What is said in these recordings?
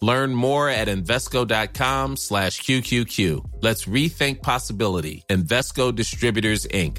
Learn more at Invesco.com slash QQQ. Let's rethink possibility. Invesco Distributors, Inc.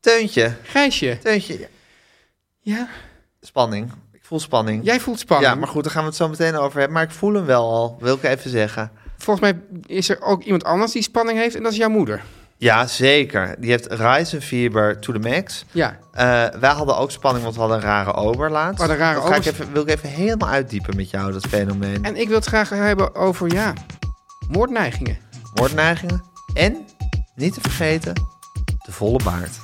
Teuntje, Gijsje. Teuntje, ja, Ja, spanning. Ik voel spanning. jij voelt spanning. Ja, maar goed, daar gaan we het zo meteen over hebben. Maar ik voel hem wel al, wil ik even zeggen. Volgens mij is er ook iemand anders die spanning heeft en dat is jouw moeder. Ja, zeker. Die heeft Reisenfieber to the max. Ja, Eh, wij hadden ook spanning, want we hadden een rare ober laatst. We hadden een rare dat ga ik ober. even, wil ik even helemaal uitdiepen met jou, dat fenomeen. en ik wil het graag hebben over, ja, moordneigingen. Moordneigingen. En, niet te vergeten, de volle baard.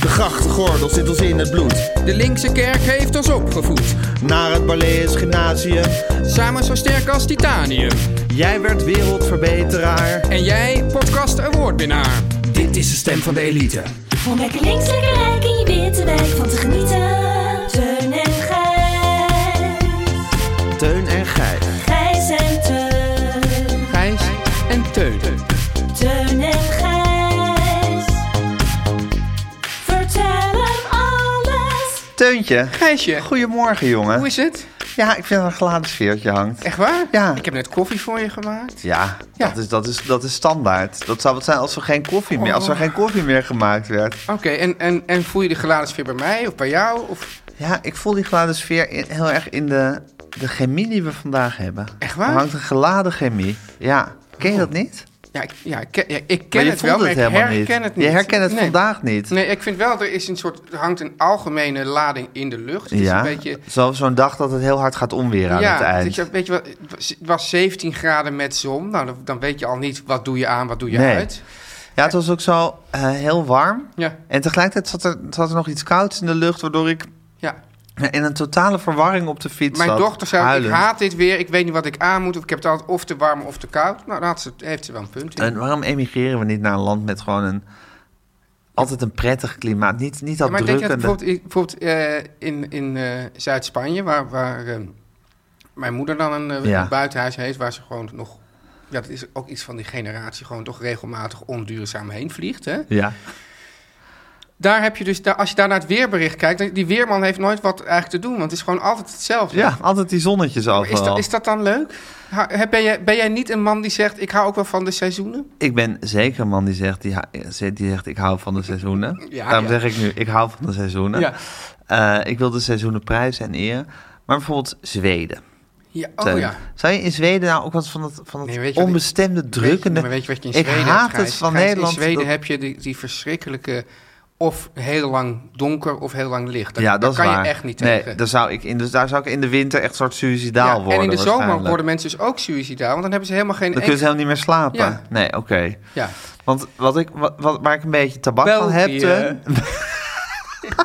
De grachtengordel zit ons in het bloed. De linkse kerk heeft ons opgevoed, Naar het Balees Gymnasium. samen zo sterk als titanium. Jij werd wereldverbeteraar. En jij, podcast awardwinnaar. Dit is de stem van de elite. Om lekker links, lekker rijk in je witte wijk van te genieten. Teun en Gijs. Teun en Gijs. Gijs en Teun. Gijs en Teun. Teun en Gijs. Vertel hem alles. Teuntje, Gijsje, goedemorgen jongen. hoe is het? Ja, ik vind dat er een geladen sfeertje hangt. Echt waar? Ja. Ik heb net koffie voor je gemaakt. Ja, Ja. Dat, is, dat, is, dat is standaard. Dat zou wat zijn als er geen koffie meer, als er Oh. geen koffie meer gemaakt werd. Oké, en, en, en voel je de geladen sfeer bij mij of bij jou? Of... Ja, ik voel die geladen sfeer in- heel erg in de, de chemie die we vandaag hebben. Echt waar? Er hangt een geladen chemie. Ja, ken je dat niet? Ja, ik, ja, ik ken, ja, ik ken maar je het voelt wel, maar het ik helemaal herken het niet. Je herkent het Nee. vandaag niet. Nee, ik vind wel, er, is een soort, er hangt een algemene lading in de lucht. Het is ja, een beetje... Zo- zo'n dag dat het heel hard gaat onweer aan het eind. dat je- weet je wat, het was- het was 17 graden met zon. Nou, dan, dan weet je al niet wat doe je aan, wat doe je Nee. uit. Ja, het was ook zo eh, heel warm. Ja, En tegelijkertijd zat er, zat er nog iets kouds in de lucht, waardoor ik ja. in een totale verwarring op de fiets Mijn zat. dochter zei, huilend. ik haat dit weer, ik weet niet wat ik aan moet. Ik heb het altijd of te warm of te koud. Nou, daar had ze, heeft ze wel een punt in. En waarom emigreren we niet naar een land met gewoon een... Altijd een prettig klimaat. Niet, niet dat Ja, maar denk je drukkende. dat bijvoorbeeld, i- bijvoorbeeld eh, in, in eh, Zuid-Spanje, waar, waar eh, mijn moeder dan een eh, Ja. een buitenhuis heeft, waar ze gewoon nog... Ja, dat is ook iets van die generatie, gewoon toch regelmatig onduurzaam heen vliegt, hè? Ja. Daar heb je dus, daar- als je daar naar het weerbericht kijkt, dan- die weerman heeft nooit wat eigenlijk te doen, want het is gewoon altijd hetzelfde. ja, altijd die zonnetjes Maar is, overal. dat, is dat dan leuk? Ha- heb- ben, jij, ben jij niet een man die zegt, ik hou ook wel van de seizoenen? Ik ben zeker een man die zegt, die, ha- die zegt ik hou van de seizoenen. Ja, Daarom ja. zeg ik nu, ik hou van de seizoenen. Eh, ik wil de seizoenen prijzen en eer. Maar bijvoorbeeld Zweden. ja. Oh Teun. ja. Zou je in Zweden nou ook wat van dat, van dat Nee, weet je wat onbestemde, Weet drukkende... je- maar weet je wat je in ik Zweden hebt, haat het Gijs? van Gijs, Nederland. In Zweden dat- heb je die, die verschrikkelijke, of heel lang donker of heel lang licht. Daar, ja, daar dat is kan waar. je echt niet nee, tegen. Daar zou, ik in, dus daar zou ik in de winter echt soort suicidaal Ja, worden en in de zomer waarschijnlijk. worden mensen dus ook suicidaal, want dan hebben ze helemaal geen... Dan kunnen ze enkel- helemaal niet meer slapen. Ja. Nee, oké. ja. Want wat ik, wat, wat- waar ik een beetje tabak van heb, België. Teun.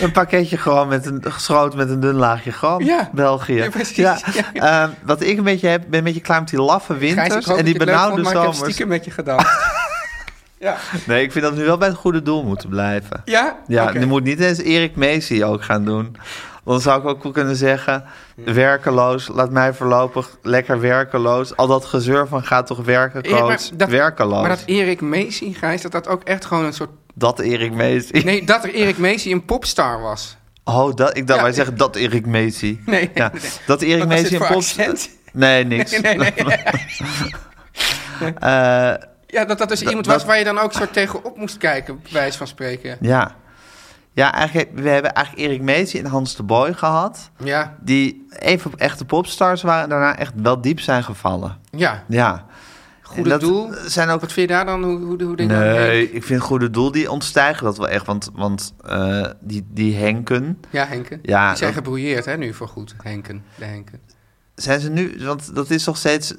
een pakketje gewoon met een, geschoten met een dun laagje gram. Ja. België. Ja, precies. Ehm, wat ik een beetje heb, ben een beetje klaar met die laffe Gijs, ik winters hoop en dat die je het leuk vond, benauwde maar ik heb zomers. stiekem met je gedacht. ja. Nee, ik vind dat we nu wel bij het goede doel moeten blijven. Ja? Ja, Oké. nu moet niet eens Erik Messi ook gaan doen. Dan zou ik ook wel kunnen zeggen, Hmm. werkeloos, laat mij voorlopig lekker werkeloos. Al dat gezeur van ga toch werken, Erik, maar coach, werkeloos. Maar dat, dat Erik Macy, Gijs, dat dat ook echt gewoon een soort... Erik Messi. Nee, dat er Erik Macy een popstar was. Oh, dat, ik dacht, Ja, wij ik- zeggen dat Erik Messi. Nee. Ja, dat Erik Wat was Messi dit een voor pop... accent? Nee, niks. Nee, nee, nee. Eh, Ja, dat dat dus iemand dat- was waar je dan ook soort tegenop moest kijken, bij wijze van spreken. ja. Ja, eigenlijk, we hebben eigenlijk Erik Meesie en Hans de Boy gehad. Ja, Die even echte popstars waren en daarna echt wel diep zijn gevallen. ja. Ja. Goede En dat doel. Zijn ook Wat vind je daar dan? Hoe, hoe, hoe denk je dat? Nee, ik vind Goede Doel, die ontstijgen dat wel echt. Want, want eh, die, die Henken, Ja, Henken. Ja, Die zijn dat- gebrouilleerd hè, nu voor goed. Henken, de Henken. zijn ze nu... Want dat is toch steeds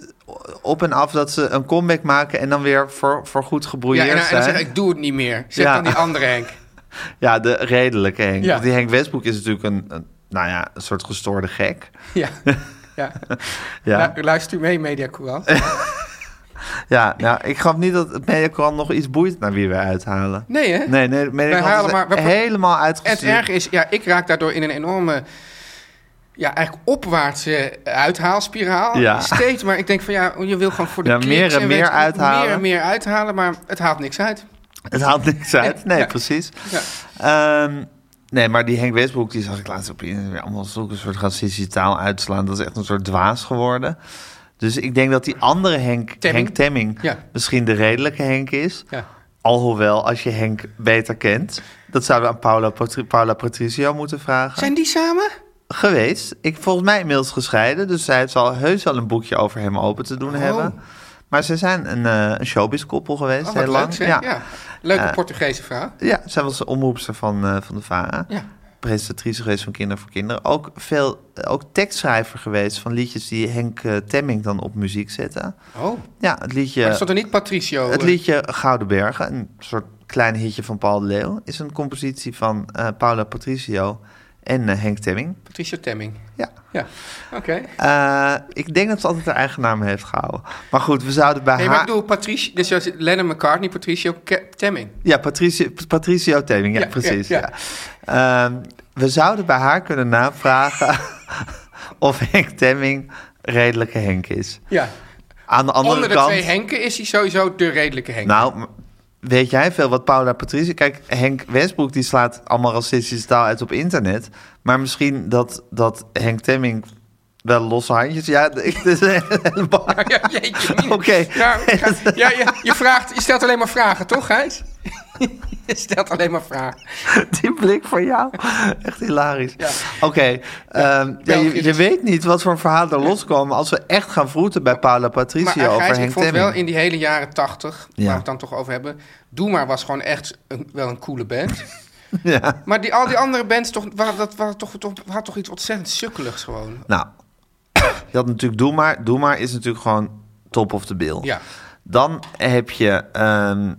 op en af dat ze een comeback maken... en dan weer voor, voor goed Ja, gebrouilleerd en, dan- en dan zijn. zeg ik, ik doe het niet meer. Zeg Ja. dan die andere Henk. Ja, de redelijke Henk. Ja. Want die Henk Westbroek is natuurlijk een, een, nou ja, een soort gestoorde gek. Ja, ja. Ja, Lu- luister mee, Media Courant. ja nou, ik geloof niet dat het Mediacorant nog iets boeit naar wie we uithalen. Nee, hè? Nee, nee, Wij Mediacorant halen is maar- we- helemaal En het uitgestuurd. erg is, ja, ik raak daardoor in een enorme... Ja, eigenlijk opwaartse uithaalspiraal. Ja. Steeds, maar ik denk van ja, je wil gewoon voor de Ja, kliks meer en meer weet je, uithalen. Meer en meer uithalen, maar het haalt niks uit. Het haalt niks uit. Nee, Ja. precies. Ja. Ehm, nee, maar die Henk Westbroek, die zag ik laatst op Instagram weer allemaal zulke soort racistische taal uitslaan. Dat is echt een soort dwaas geworden. Dus ik denk dat die andere Henk, Temming. Henk Temming, Ja. misschien de redelijke Henk is. Ja. Alhoewel, als je Henk beter kent, dat zouden we aan Paula, Patri- Paula Patricio moeten vragen. Zijn die samen? Geweest. Ik volgens mij inmiddels gescheiden, dus zij zal heus wel een boekje over hem open te Oh. doen hebben. Maar ze zijn een, eh een showbiz-koppel geweest, Oh, wat heel leuk, lang. zeg. Ja. Leuke Ja. Portugese vrouw. Ja, zij was de omroepster van, eh, van de VARA. Ja. Presentatrice geweest van Kinderen voor Kinderen. Ook, veel, eh, ook tekstschrijver geweest van liedjes die Henk eh, Temming dan op muziek zette. Oh, maar Ja, het er liedje, stond er niet Patricio. het eh, liedje Gouden Bergen, een soort klein hitje van Paul de Leeuw... is een compositie van eh, Paula Patricio en eh, Henk Temming. Patricio Temming. Ja. Ja, oké. Eh, ik denk dat ze altijd haar eigen naam heeft gehouden. Maar goed, we zouden bij Nee, maar haar... ik bedoel, Patricio, dus zoals Lennon McCartney, Patricio Ke- Temming. Ja, Patricio, Patricio Teming, ja, Ja, precies. ja, Ja, ja. Ehm, we zouden bij haar kunnen navragen of Henk Temming redelijke Henk is. Ja. Aan de andere Onder de kant, twee Henken is hij sowieso de redelijke Henk. nou, m- weet jij veel wat Paula Patricio... Kijk, Henk Westbroek die slaat allemaal racistische taal uit op internet. Maar misschien dat, dat Henk Temming wel losse handjes... Ja, ik, het is een heleboel- Ja, jeetje. mina. Oké. Nou, ja, ja, ja, je, vraagt, je stelt alleen maar vragen, toch, Gijs? je stelt alleen maar vragen. Die blik van jou. Echt hilarisch. Ja. Oké, ehm, ja, België je, je dus. weet niet wat voor verhalen er loskomen als we echt gaan vroeten bij Paula Maar Patricia eh, over Gijs, ik Henk vond Temming. wel in die hele jaren tachtig, Ja. waar we het dan toch over hebben... Doe Maar was gewoon echt een- wel een coole band. Ja. maar die, al die andere bands toch, waren, dat waren toch, toch, had toch iets ontzettend sukkeligs gewoon. Nou, je had natuurlijk Doe Maar. Doe Maar is natuurlijk gewoon top of the bill. Ja. Dan heb je, ehm,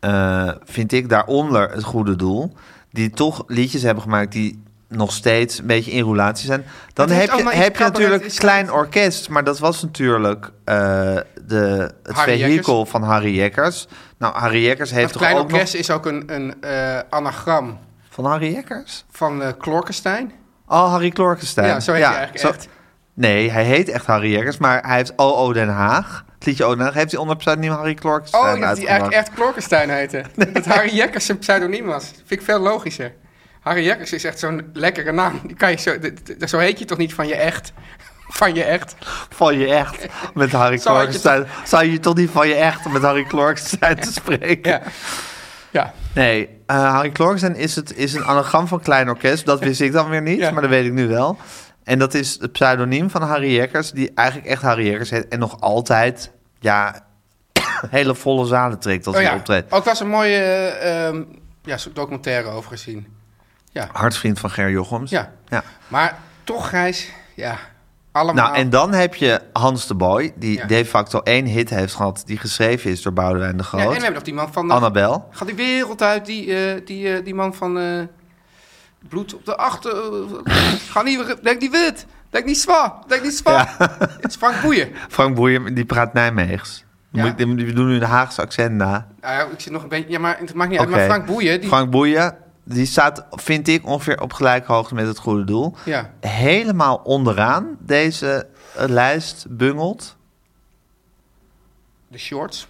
eh, vind ik, daaronder het goede doel. Die toch liedjes hebben gemaakt die nog steeds een beetje in roulatie zijn. Dan Het heeft heb je, allemaal iets heb je natuurlijk cabaret- is- Klein Orkest. Maar dat was natuurlijk eh, de, het Harry vehikel van Harry Jekkers. Nou, Harry Jekkers heeft Het toch Klein ook nog... Orkest is ook een, een eh, anagram Van Harry Jekkers? van eh Klorkenstein. Oh, Harry Klorkenstein. Ja, zo heet hij eigenlijk echt. Nee, hij heet echt Harry Jekkers, maar hij heeft OO Den Haag. Het liedje OO Den Haag heeft hij onder pseudoniem Harry Nou, Klorkenstein Oh, dat die uitgebracht. eigenlijk echt Klorkenstein heette. Dat Harry Jekkers een pseudoniem was. Vind ik veel logischer. Harry Jekkers is echt zo'n lekkere naam. Die kan je zo, d- d- zo heet je toch niet van je echt? Van je echt? Van je echt met Harry Zou je Klorkenstein. Zou je toch niet van je echt om met Harry Klorkenstein te spreken? Ja. Ja. Nee, eh, Harry Klorkenstein is, het, is een anagram van Klein Orkest. Dat wist ik dan weer niet, Ja. maar dat weet ik nu wel. En dat is het pseudoniem van Harry Jekkers, die eigenlijk echt Harry Jekkers heet. En nog altijd, ja, hele volle zalen trekt als Oh hij ja. optreedt. Ook was een mooie eh, ehm, ja, zo'n documentaire over gezien. Ja. Hartvriend van Ger Jochems. Ja. ja. Maar toch, Gijs, ja. Allemaal. Nou, en dan heb je Hans de Boy, die Ja. de facto één hit heeft gehad... die geschreven is door Boudewijn de ja, en Groot. we hebben nog die man van... Annabel. Gaat die wereld uit, die, eh, die, eh, die man van eh, bloed op de achter. eh, ga niet, denk niet wit, denk niet zwaar, denk niet zwaar. Het is Frank Boeien. Frank Boeien, die praat Nijmeegs. Ja. Moet- die- We doen nu een Haagse accent na. Nou ja, ik zit nog een beetje, ja, maar het maakt niet Oké. uit. Maar Frank Boeien, die, Frank Boeien, die staat, vind ik, ongeveer op gelijke hoogte met het goede doel. ja, Helemaal onderaan deze eh, lijst bungelt. de shorts.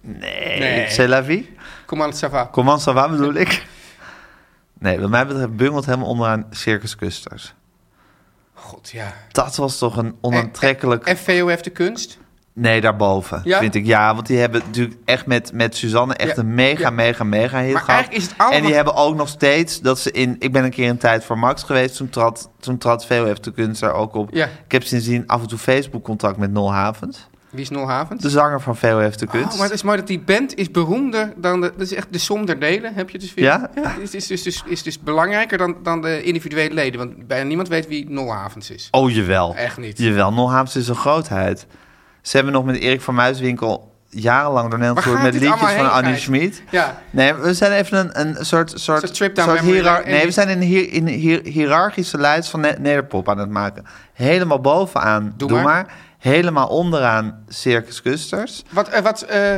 Nee, Nee. c'est la vie. Kom aan het Sava. Comment ça va bedoel ik. Nee, wat mij betreft bungelt helemaal onderaan Circus Custers. God ja. Dat was toch een onaantrekkelijk... En VOF de kunst. Nee, daarboven Ja? vind ik. Ja, want die hebben natuurlijk echt met, met Suzanne echt Ja, een mega, ja. mega, mega hit Maar gehad. eigenlijk is het allemaal- En die hebben ook nog steeds dat ze in... Ik ben een keer een tijd voor Max geweest. Toen trad, toen trad veel heeft de kunst daar ook op. Ja. Ik heb sindsdien af en toe Facebook-contact met Nol Havens. Wie is Nolhavens? De zanger van veel heeft de kunst. Oh, maar het is mooi dat die band is beroemder dan de... Dat is echt de som der delen, heb je dus weer. Ja? het is, is, is, is, is dus belangrijker dan, dan de individuele leden. Want bijna niemand weet wie Nolhavens is. Oh, jawel. Echt niet. Jawel, Nol Havens is een grootheid. Ze hebben nog met Erik van Muiswinkel jarenlang door Nederland Waar gehoord... gaat met dit liedjes allemaal van heen, Annie Gijs? Schmid. Ja, Nee, we zijn even een, een soort, soort, Soort trip down soort memory hiërar- lane. Nee, we zijn in een hi- in een hi- hiërarchische lijst van ne- Nederpop aan het maken. Helemaal bovenaan Doe, Doe maar. maar. Helemaal onderaan Circus Custers. Wat, eh, wat eh,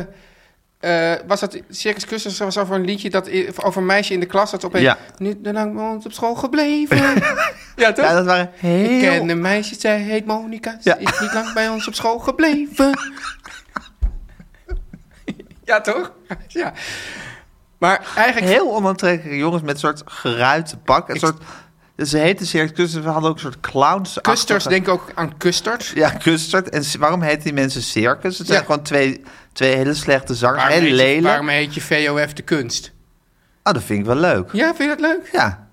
eh, was dat? Circus Custers was over een liedje dat i- over een meisje in de klas dat opeens. Ja. Nu de lang mond op school gebleven. ja, toch? Ja, dat waren heel... Ik ken een meisje, zij heet Monika. Ze Ja. is niet lang bij ons op school gebleven. ja, toch? Ja. Maar eigenlijk. Heel onaantrekkelijke jongens met een soort geruite pak. Een soort, ze heten Circus Custers, we hadden ook een soort clowns. Custers, denk ik ook aan Custers. Ja, Custard. En c- waarom heten die mensen Circus? Het zijn Ja. gewoon twee, twee hele slechte zangers. Waarom Heel heet je- lelijk. Waarom heet je VOF de kunst? Ah, dat vind ik wel leuk. Ja, vind je dat leuk? Ja.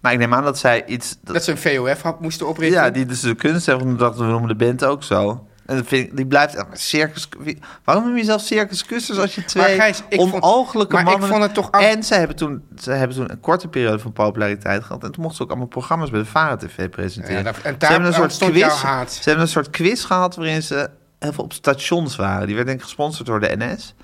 Maar ik neem aan dat zij iets... dat- Dat ze een VOF had- moesten oprichten. Ja, die dus de kunst hebben omdat we noemen de band ook zo. En dat vind ik, die blijft echt circus. wie- Waarom noem je zelf circus kussers als je twee Gijs, ik vond- onogelijke maar ik mannen... vond het toch af- En ze hebben, toen, ze hebben toen een korte periode van populariteit gehad. En toen mochten ze ook allemaal programma's bij de Varen TV presenteren. Ja, daar- en ze daar hebben een soort ontstond quiz. jouw haat. Ze hebben een soort quiz gehad waarin ze even op stations waren. Die werd denk ik gesponsord door de NS.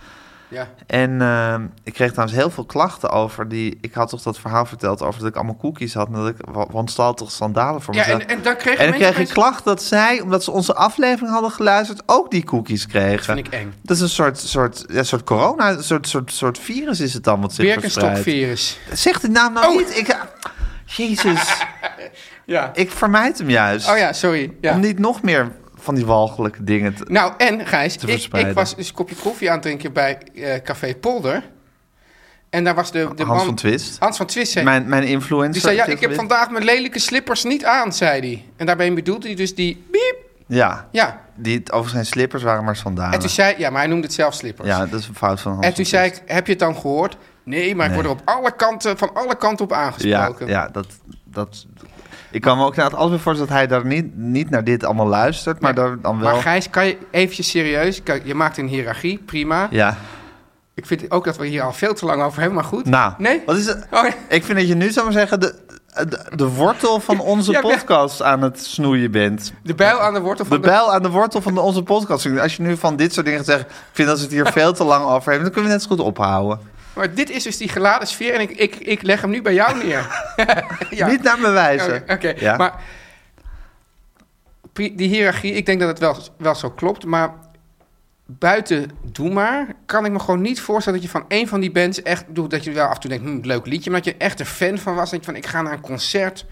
Ja. En ehm, ik kreeg trouwens heel veel klachten over die... Ik had toch dat verhaal verteld over dat ik allemaal cookies had... en dat ik wa- wanstaltig sandalen voor Ja, mezelf... en, en dan kreeg En dan mensen kreeg ik opeens- klacht dat zij, omdat ze onze aflevering hadden geluisterd, ook die cookies kregen. Dat vind ik eng. Dat is een soort, soort, ja, soort corona, een soort, soort, soort virus is het dan wat zich verspreidt. Birkenstockvirus. Zeg de naam nou Oh. niet. Ik, Jezus, Ja. ik vermijd hem juist. Oh ja, sorry. Ja. Om niet nog meer van die walgelijke dingen te... Nou, en Gijs, ik, verspreiden. ik was dus een kopje koffie aan het drinken bij eh, Café Polder. En daar was de, de Hans man... van Twist. Hans van Twist, zei- Mijn, mijn influencer. die zei, ja, ik heb dit- vandaag mijn lelijke slippers niet aan, zei hij. En daarbij bedoelde hij dus die biep. Ja, Ja. die het over zijn slippers waren maar sandalen. En toen zei, ja, maar hij noemde het zelf slippers. Ja, dat is een fout van Hans en toen van zei Twist. ik, heb je het dan gehoord? Nee, maar ik word er op alle kanten, van alle kanten op Ja, aangesproken. ja dat, dat... Ik kan me ook inderdaad altijd voorstellen dat hij daar niet, niet naar dit allemaal luistert, maar Nee. daar dan wel... Maar Gijs, kan je eventjes serieus? Kijk, je maakt een hiërarchie, prima. Ja. Ik vind ook dat we hier al veel te lang over hebben, maar goed. Nou, Nee? wat is het? Oh, ja. Ik vind dat je nu, zou maar zeggen, de, de, de wortel van onze Ja, ja. podcast aan het snoeien bent. De bijl aan de wortel De van bijl aan de wortel van de- onze podcast. Als je nu van dit soort dingen zegt, ik vind dat ze het hier veel te lang over hebben, dan kunnen we net zo goed ophouden. Maar dit is dus die geladen sfeer en ik, ik, ik leg hem nu bij jou neer. ja. Niet naar me Oké, wijzen. oké. Ja. maar pri- die hiërarchie, ik denk dat het wel, wel zo klopt, maar buiten Doe Maar kan ik me gewoon niet voorstellen dat je van één van die bands echt doet dat je wel af en toe denkt, hm, leuk liedje, maar dat je echt een fan van was, dat je van ik ga naar een concert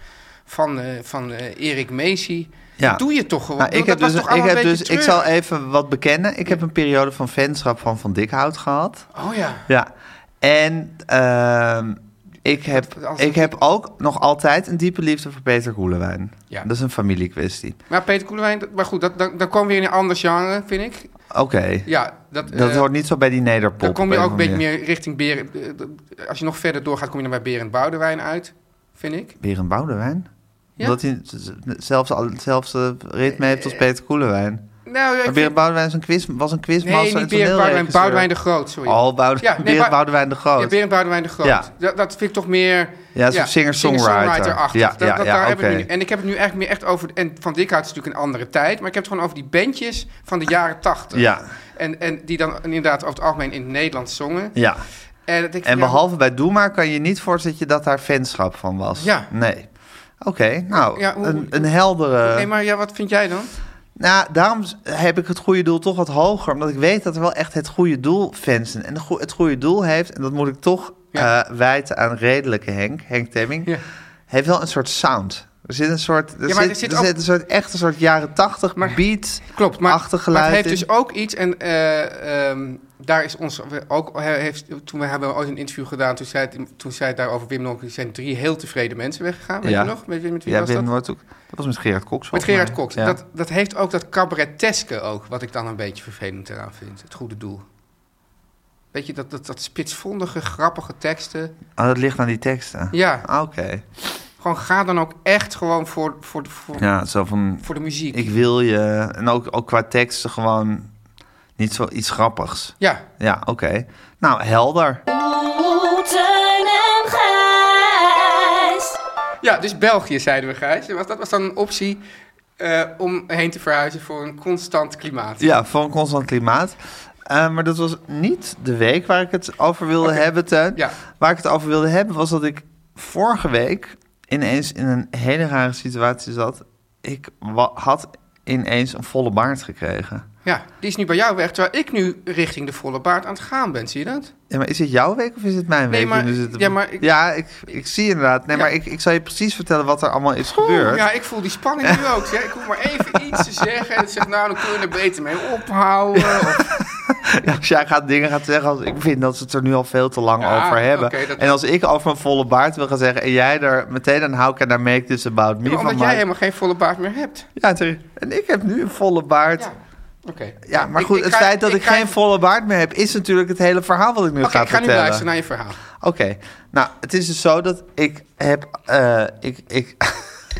van, eh, van eh, Erik Macy. Ja. Dat doe je toch gewoon. Nou, ik Dat heb was dus, toch allemaal ik, heb een dus beetje ik zal treurig? even wat bekennen. Ik heb een periode van fanschap van Van Dikhout gehad. Oh ja. Ja. En ehm, ik, heb, Als- ik heb ook nog altijd een diepe liefde voor Peter Koelewijn. Ja. Dat is een familiekwestie. Maar Peter Koelewijn, dat- maar goed, dat, dan, dan kwam weer in een ander genre, vind ik. Oké. Ja, dat, Dat eh, hoort niet zo bij die nederpop. Dan kom je op ook een beetje of andere meer richting Berend. eh, d- Als je nog verder doorgaat, kom je dan bij Berend Boudewijn uit, vind ik. manier. Berend Boudewijn? Ja. Omdat hij z- z- hetzelfde, al- hetzelfde ritme heeft als Peter Koelewijn. Nou, ja, Maar ik Berend vind- Boudewijn is een quiz, was een quizmaster nee, en niet Berend Boudewijn, toneelregisseur. Boudewijn de Groot, sorry. Oh, Boude- Ja, nee, Berend maar- Boudewijn de Groot. Ja, Berend Boudewijn de Groot. Ja. Dat, dat vind ik toch meer... Ja, zo'n singer-songwriter. singer-songwriter-achtig. Ja, Dat- ja, dat- ja, daar heb ik oké. nu- En ik heb het nu echt meer echt over... En Van Dikhout is natuurlijk een andere tijd. Maar ik heb het gewoon over die bandjes van de jaren tachtig. Ja. En, en die dan inderdaad over het algemeen in het Nederlands zongen. Ja. En, dat ik En ja, behalve bij Doe Maar kan je niet voorstellen dat je dat daar fanschap van was. Ja. Nee. Oké, nou, Ja, hoe- een, een heldere... Nee, maar ja, wat vind jij dan? Nou, daarom s- heb ik het goede doel toch wat hoger. Omdat ik weet dat er wel echt het goede doel fans zijn. En de goe- het goede doel heeft, en dat moet ik toch Ja. eh, wijten aan redelijke Henk, Henk Temming, Ja. heeft wel een soort sound. Er zit een soort, er Ja, maar zit, er zit er ook- zit een soort, echt een soort jaren tachtig Maar- beat Klopt, maar, maar achtergeluid het heeft in. dus ook iets en eh, ehm, daar is ons we ook he- heeft toen we hebben ooit een interview gedaan toen zei het- toen zei het daarover Wim Nonk, er zijn drie heel tevreden mensen weggegaan, weet Ja. je nog? Met, wie- met wie Ja, was Wim dat? Noordhoek. Dat was met Gerard Cox. Met volgens Gerard mij. Cox. Ja. Dat, dat heeft ook dat cabareteske ook, wat ik dan een beetje vervelend eraan vind. Het goede doel. Weet je, dat, dat, dat spitsvondige, grappige teksten. Ah, dat ligt aan die teksten. Ja, Ah, Oké. gewoon ga dan ook echt gewoon voor, voor, de- voor, Ja, zo van, voor de muziek. ik wil je. En ook, ook qua teksten gewoon niet zo iets grappigs. Ja, Ja, oké. Nou, helder. Oeh, Teun en Gijs. ja, dus België, zeiden we Gijs. Dat was- Dat was dan een optie eh, om heen te verhuizen voor een constant klimaat. Ja, van constant klimaat. Eh, maar dat was niet de week waar ik het over wilde hebben, Teun. Ja. Waar ik het over wilde hebben was dat ik vorige week ineens in een hele rare situatie zat. Ik wa- had ineens een volle baard gekregen. Ja, die is nu bij jou weg, terwijl ik nu richting de volle baard aan het gaan ben, zie je dat? Ja, maar is dit jouw week of is het mijn Nee, week? maar- Nu zit het- ja, maar ik- ja ik, ik zie inderdaad. Nee, Ja. maar ik, ik zal je precies vertellen wat er allemaal is gebeurd. Ja, ik voel die spanning nu ook. Zeg. Ik hoef maar even iets te zeggen. En ik zeg, nou, dan kun je er beter mee ophouden. Of- Ja, Als Dus jij gaat dingen gaat zeggen als ik vind dat ze het er nu al veel te lang Ja, over hebben. oké, dat- En als ik over mijn volle baard wil gaan zeggen en jij er meteen aan houdt en daar make this about me Ja, van omdat jij maakt. helemaal geen volle baard meer hebt. Ja, ter- en ik heb nu een volle baard. Ja, Ja, oké. maar Ik- goed, ik het ga- feit dat ik, ga- geen volle baard meer heb is natuurlijk het hele verhaal wat ik nu Oké, ga ik ga nu vertellen. luisteren naar je verhaal. Oké, nou, het is dus zo dat ik heb, eh, ik, ik,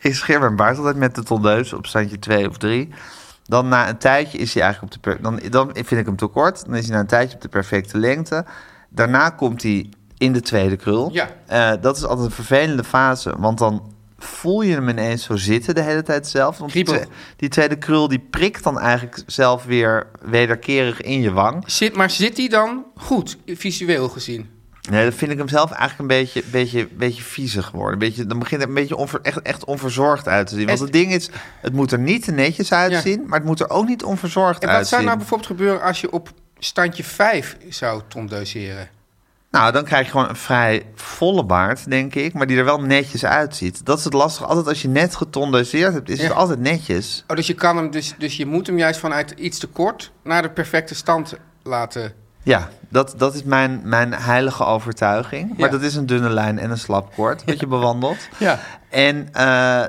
ik scheer mijn baard altijd met de tondeus op standje 2 of 3. Dan na een tijdje is hij eigenlijk op de, per- dan, dan vind ik hem te kort. Dan is hij na een tijdje op de perfecte lengte. Daarna komt hij in de tweede krul. Ja. Eh, dat is altijd een vervelende fase, want dan voel je hem ineens zo zitten de hele tijd zelf. Want die, Kriebel. twe- die tweede krul die prikt dan eigenlijk zelf weer wederkerig in je wang. Zit, maar zit die dan goed, visueel gezien? Nee, dat vind ik hem zelf eigenlijk een beetje, beetje, beetje viezig worden. Een beetje, dan begint het een beetje onver, echt, echt onverzorgd uit te zien. Want En- het ding is, het moet er niet te netjes uitzien, maar het moet er ook niet onverzorgd En wat uitzien. zou nou bijvoorbeeld gebeuren als je op standje 5 zou tondeuceren? Nou, dan krijg je gewoon een vrij volle baard, denk ik, maar die er wel netjes uitziet. Dat is het lastige. Altijd als je net getondeuseerd hebt, is Ja. het altijd netjes. Oh, dus je kan hem dus, dus je moet hem juist vanuit iets te kort naar de perfecte stand laten. Ja, dat, dat is mijn, mijn heilige overtuiging. Maar Ja. dat is een dunne lijn en een slap koord wat je bewandelt. Ja. En eh,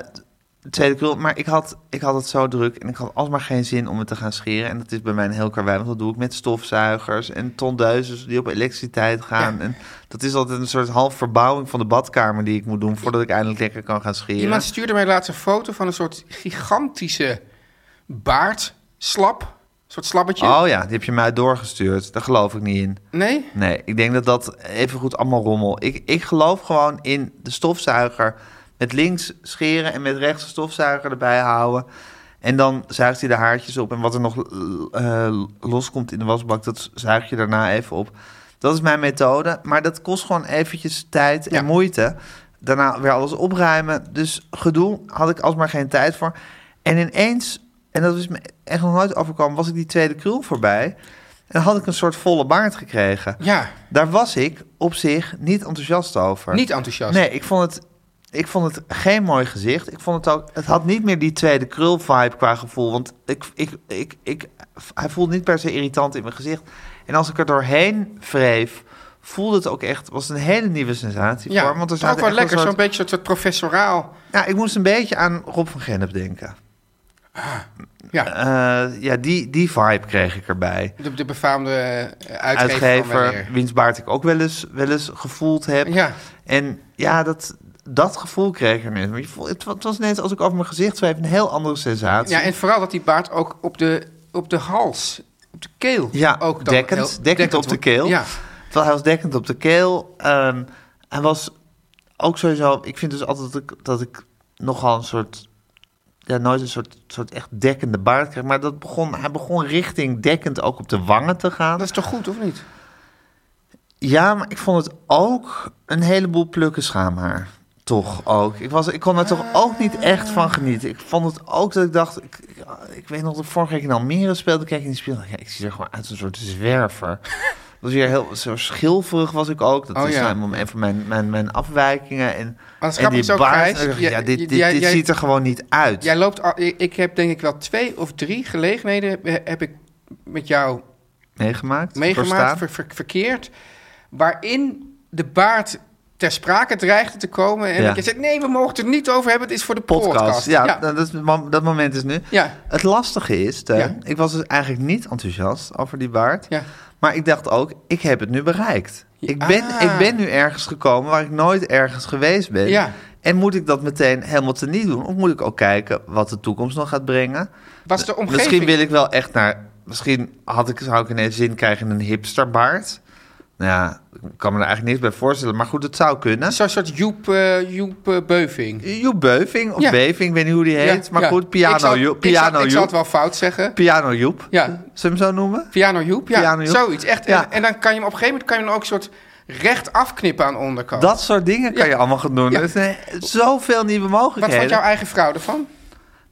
tweede krul, maar ik had, ik had het zo druk en ik had alsmaar geen zin om het te gaan scheren. En dat is bij mij een heel karwei, want dat doe ik met stofzuigers en tondeuzes die op elektriciteit gaan. En dat is altijd een soort half verbouwing van de badkamer die ik moet doen voordat ik eindelijk lekker kan gaan scheren. Iemand stuurde mij laatst een foto van een soort gigantische baardslap. Een soort slabbetje. Oh ja, die heb je mij doorgestuurd. Daar geloof ik niet in. Nee? Nee, ik denk dat dat evengoed allemaal rommel. Ik, ik geloof gewoon in de stofzuiger. Met links scheren en met rechts de stofzuiger erbij houden. En dan zuigt hij de haartjes op. En wat er nog eh, loskomt in de wasbak, dat zuig je daarna even op. Dat is mijn methode. Maar dat kost gewoon eventjes tijd en Ja. moeite. Daarna weer alles opruimen. Dus gedoe had ik alsmaar geen tijd voor. En ineens, en dat is me echt nog nooit overkomen, was ik die tweede krul voorbij. En had ik een soort volle baard gekregen. Ja, Daar was ik op zich niet enthousiast over. niet enthousiast. Nee, ik vond het, ik vond het geen mooi gezicht. Ik vond het ook, het had niet meer die tweede krul vibe qua gevoel. Want ik, ik, ik, ik, hij voelde niet per se irritant in mijn gezicht. En als ik er doorheen wreef, voelde het ook echt, was een hele nieuwe sensatie Ja, voor me. Want er het is zaten ook wel echt lekker, een zo'n soort- beetje soort, soort professoraal. Ja, ik moest een beetje aan Rob van Gennep denken. Ja, Eh, ja, die, die vibe kreeg ik erbij. de, de befaamde eh, uitgever, van uitgever, Weleer. wiens baard ik ook wel eens, wel eens gevoeld heb. Ja. En ja, dat, dat gevoel kreeg ik er net. Maar je voelt, het, wa- het was net als ik over mijn gezicht zweef, een heel andere sensatie. Ja, en vooral dat die baard ook op de, op de hals, op de keel. Ja, ook dan dekkend, heel- dekkend, op de wordt. keel. Ja, Terwijl hij was dekkend op de keel. Ehm, hij was ook sowieso... Ik vind dus altijd dat ik, dat ik nogal een soort... Ja, nooit een soort, soort echt dekkende baard kreeg. Maar dat begon, hij begon richting dekkend ook op de wangen te gaan. Ah, dat is toch goed, of niet? Ja, maar ik vond het ook een heleboel plukken schaamhaar. Toch ook. Ik, was, ik kon er toch ook niet echt van genieten. Ik vond het ook dat ik dacht... Ik, ik, ik weet nog dat ik vorige week in Almere speelde. Kijk in die spiegel. Ja, ik zie er gewoon uit als een soort zwerver. was weer heel zo schilferig was ik ook. Dat Oh, is ja. nou een van mijn, mijn, mijn afwijkingen. En, Anders en grap die is ook, baard. Gijs, en ik dacht, jij- ja, dit, dit, jij- dit jij- ziet er gewoon niet uit. Jij loopt al, ik ik heb denk ik wel twee of drie gelegenheden heb- heb ik met jou meegemaakt? meegemaakt, doorstaan. ver- ver- verkeerd, waarin de baard ter sprake dreigde te komen. En Ja. ik zei, nee, we mogen het er niet over hebben, het is voor de podcast. podcast. Ja, ja. Dat, is- mom- dat moment is nu. Ja. Het lastige is, Teun, Ja. ik was dus eigenlijk niet enthousiast over die baard. Ja. Maar ik dacht ook, ik heb het nu bereikt. Ik ben, Ah. ik ben nu ergens gekomen waar ik nooit ergens geweest ben. Ja. En moet ik dat meteen helemaal teniet doen? Of moet ik ook kijken wat de toekomst nog gaat brengen? Was de omgeving... Misschien wil ik wel echt naar... Misschien had ik, zou ik ineens zin krijgen in een hipsterbaard. Nou ja, ik kan me er eigenlijk niks bij voorstellen. Maar goed, het zou kunnen. Zo'n soort Joep, eh, Joep eh, Beuving. Joep Beuving of Ja. Beving, ik weet niet hoe die heet. Ja, maar ja. goed, Piano Ik zal- Joep. Ik zal, Piano ik zal Joep. het wel fout zeggen. Piano Joep. Ja. Zullen we hem zo noemen? Piano Joep, ja. Piano Joep. Zoiets, echt. Ja. En, en dan kan je hem op een gegeven moment kan je hem ook een soort recht afknippen aan de onderkant. Dat soort dingen kan Ja. je allemaal gaan doen. Ja. Er zijn zoveel nieuwe mogelijkheden. Wat vond jouw eigen vrouw ervan?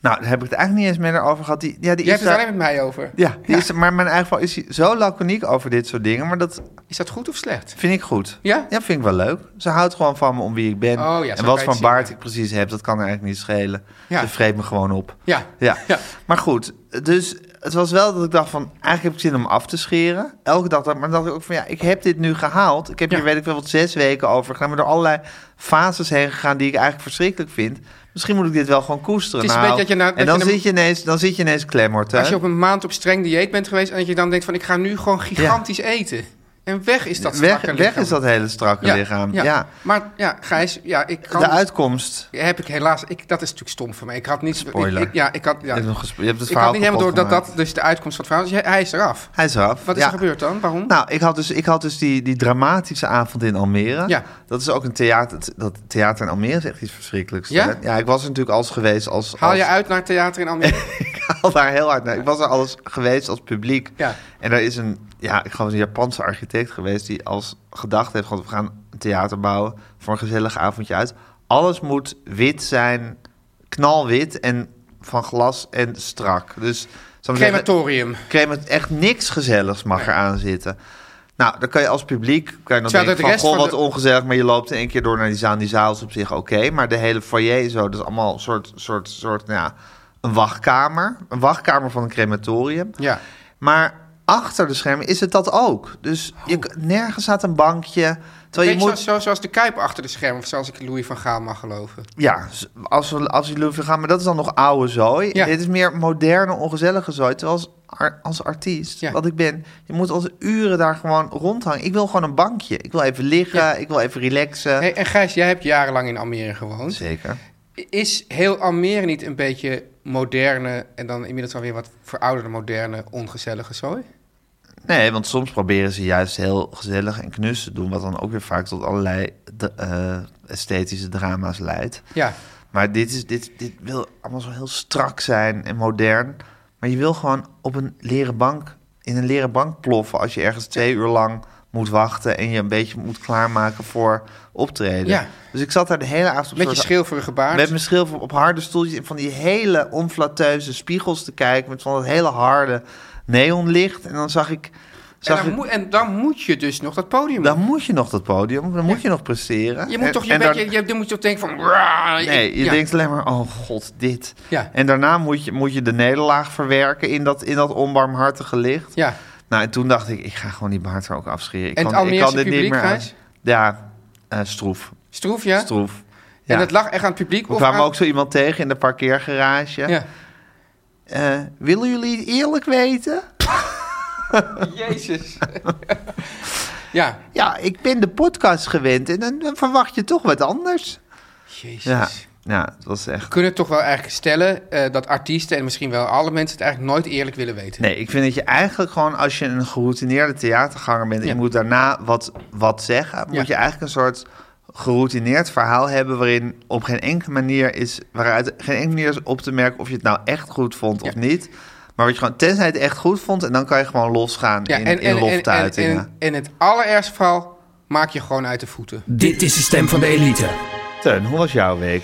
Nou, daar heb ik het eigenlijk niet eens meer over gehad. Die, ja, die Je is hebt het daar- alleen met mij over. ja, die Is, maar mijn eigen vrouw is hier zo laconiek over dit soort dingen. Maar dat Is dat goed of slecht? vind ik goed. Ja? Ja, vind ik wel leuk. Ze houdt gewoon van me om wie ik ben. Oh ja, zo en kan je wat het voor zien, baard ja. ik precies heb, dat kan er eigenlijk niet schelen. Ja. Ze vreet me gewoon op. Ja. Ja. Ja. maar goed. Dus het was wel dat ik dacht van, eigenlijk heb ik zin om af te scheren. Elke dag, dat, maar dan dacht ik ook van, ja, ik heb dit nu gehaald. Ik heb Ja. hier, weet ik wel, wat zes weken over gedaan. Maar door allerlei fases heen gegaan die ik eigenlijk verschrikkelijk vind. Misschien moet ik dit wel gewoon koesteren. Het is een Nou, beetje dat je nou- en dat dan, je hem- zit je ineens, dan zit je ineens klemmerd. Als je op een maand op streng dieet bent geweest en dat je dan denkt van ik ga nu gewoon gigantisch eten. En weg is dat weg, strakke weg lichaam. is dat hele strakke lichaam. Ja. Maar ja, Gijs, ja, ik kan... De uitkomst. Heb ik helaas... Ik, dat is natuurlijk stom van mij. Ik had niet... Spoiler. Ik, ik- ja, ik had... Je Ja, hebt, nog gesp- je hebt het ik had verhaal niet helemaal door kapot dat gemaakt. dat dus de uitkomst van het verhaal is. Hij- Hij is eraf. Hij is eraf. Wat is ja. er gebeurd dan? Waarom? Nou, ik had dus, ik had dus die, die dramatische avond in Almere. Ja. Dat is ook een theater. het- Dat theater in Almere is echt iets verschrikkelijks. Ja? hè? ja, ik was er natuurlijk als geweest als. Haal als- je uit naar het theater in Almere? Ik haal daar heel hard naar. Ik was er alles geweest als publiek. Ja. En er is een, ja, ik geloof een Japanse architect geweest die als gedacht heeft: gewoon, we gaan een theater bouwen voor een gezellig avondje uit. Alles moet wit zijn, knalwit en van glas en strak. Dus zal ik maar zeggen, Crematorium. kreeg het echt niks gezelligs mag eraan zitten. Nou, dan kan je als publiek kan je dan Terwijl denken de van, rest goh, van wat de- ongezellig, maar je loopt in één keer door naar die zaal. En Die zaal is op zich oké, maar de hele foyer en zo, dat is allemaal een soort, soort, soort, nou ja, een wachtkamer. Een wachtkamer van een crematorium. Ja. Maar achter de schermen is het dat ook. Dus Oh. je, k- nergens staat een bankje. Terwijl je Beetje moet... zo, zo- zoals de Kuip achter de schermen, of zoals ik Louis van Gaal mag geloven. Ja, z- als we, als we Louis gaan, maar dat is dan nog oude zooi. Ja. Dit is meer moderne, ongezellige zooi. Terwijl als, ar- als artiest, Ja. wat ik ben, je moet als uren daar gewoon rondhangen. Ik wil gewoon een bankje. Ik wil even liggen, Ja. ik wil even relaxen. Hey, en Gijs, jij hebt jarenlang in Almere gewoond. Zeker. Is heel Almere niet een beetje moderne en dan inmiddels alweer wat verouderde, moderne, ongezellige zooi? Nee, want soms proberen ze juist heel gezellig en knus te doen... wat dan ook weer vaak tot allerlei de- eh, esthetische drama's leidt. Ja, Maar dit, is, dit, dit wil allemaal zo heel strak zijn en modern. Maar je wil gewoon op een leren bank, in een leren bank ploffen... als je ergens twee uur lang moet wachten... en je een beetje moet klaarmaken voor optreden. Ja. Dus ik zat daar de hele avond op met je soort- schilferige baard. met mijn schil op harde stoeltjes... en van die hele onflateuze spiegels te kijken... met van dat hele harde neonlicht. En dan zag ik... en, Zag dan ik moet, en dan moet je dus nog dat podium op. dan moet je nog dat podium, dan moet je nog presteren. Je moet En- toch je en daar- beetje, je, dan moet je toch denken van... "Raar, ik- Nee, je ja. denkt alleen maar, oh god, dit. Ja. En daarna moet je, moet je de nederlaag verwerken in dat, in dat onbarmhartige licht. Ja, Nou, en toen dacht ik, ik ga gewoon die baard er ook afscheren. Ik En het kan, ik kan dit Almeerse niet publiek, meer aan. Gijs? Ja, eh, stroef. stroef, ja? Stroef. En Ja. dat lag echt aan het publiek. We of kwamen aan- ook zo iemand tegen in de parkeergarage. Ja. Eh, willen jullie het eerlijk weten? Jezus. ja, Ja, ik ben de podcast gewend en dan dan verwacht je toch wat anders. jezus. Ja, ja het was echt... We kunnen toch wel eigenlijk stellen eh, dat artiesten en misschien wel alle mensen het eigenlijk nooit eerlijk willen weten. Nee, ik vind dat je eigenlijk gewoon als je een geroutineerde theaterganger bent... en je Ja. moet daarna wat, wat zeggen... moet Ja. je eigenlijk een soort geroutineerd verhaal hebben... waarin op geen enkele manier is, waaruit geen enkele manier is op te merken... of je het nou echt goed vond of Ja. niet. Maar wat je gewoon, tenzij je het echt goed vond... en dan kan je gewoon losgaan in, in loftuitingen. en, en het allerergste geval maak je gewoon uit de voeten. Dit is de stem van de elite. Teun, hoe was jouw week?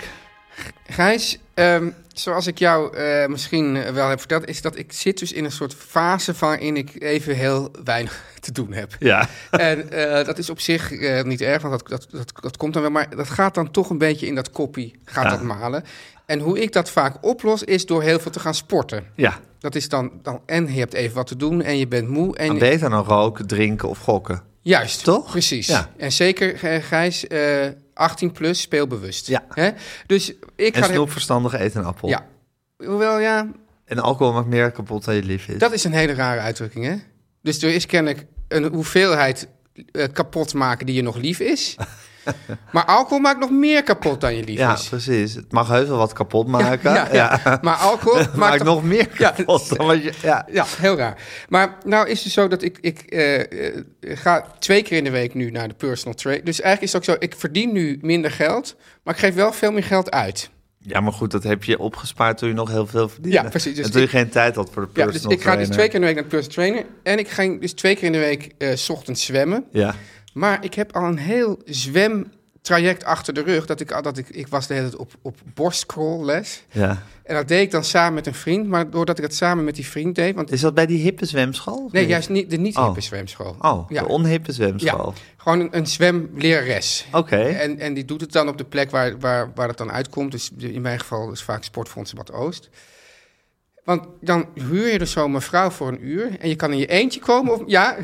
Gijs, ehm, zoals ik jou eh, misschien wel heb verteld, is dat ik zit dus in een soort fase waarin ik even heel weinig te doen heb. Ja. En eh, dat is op zich eh, niet erg, want dat, dat, dat, dat komt dan wel. Maar dat gaat dan toch een beetje in dat koppie, gaat dat malen. En hoe ik dat vaak oplos, is door heel veel te gaan sporten. Ja. Dat is dan, dan en je hebt even wat te doen en je bent moe. En Dan beter dan roken, drinken of gokken. Juist. Toch? Precies. Ja. En zeker, eh, Gijs, eh, 18 plus, speelbewust. Ja. Hè? Dus ik En ga... snoep verstandig eten een appel. Ja. Hoewel, ja, En alcohol maakt meer kapot dan je lief is. dat is een hele rare uitdrukking, hè? Dus er is kennelijk een hoeveelheid eh, kapot maken die je nog lief is. maar alcohol maakt nog meer kapot dan je lief ja, is. precies. Het mag heus wel wat kapot maken. ja, ja. Maar alcohol maakt, maakt toch- nog meer Ja, kapot dan wat je... Ja. Ja, heel raar. Maar nou is het zo dat ik, ik eh, eh, ga twee keer in de week nu naar de personal trade. Dus eigenlijk is het ook zo, ik verdien nu minder geld, maar ik geef wel veel meer geld uit. ja, maar goed, dat heb je opgespaard toen je nog heel veel verdiende. Ja, precies. Dus en toen je ik- geen tijd had voor de Ja, personal dus ik ga dus trainer. twee keer in de week naar de personal trainer. En ik ga dus twee keer in de week eh, 's ochtends zwemmen. Ja. Maar ik heb al een heel zwemtraject achter de rug. Dat ik, al- dat ik, ik was de hele tijd op, op borstcrawlles. ja. En dat deed ik dan samen met een vriend. Maar doordat ik dat samen met die vriend deed... Want, Is dat bij die hippe zwemschool? of nee, niet? juist niet, de niet-hippe Oh. zwemschool. Oh, Ja. de onhippe zwemschool. Ja, gewoon een, een zwemlerares. Oké. En, en die doet het dan op de plek waar, waar, waar het dan uitkomt. Dus in mijn geval is vaak Sportfonds Bad Oost. Want dan huur je dus zo'n mevrouw voor een uur. En je kan in je eentje komen. Of, ja,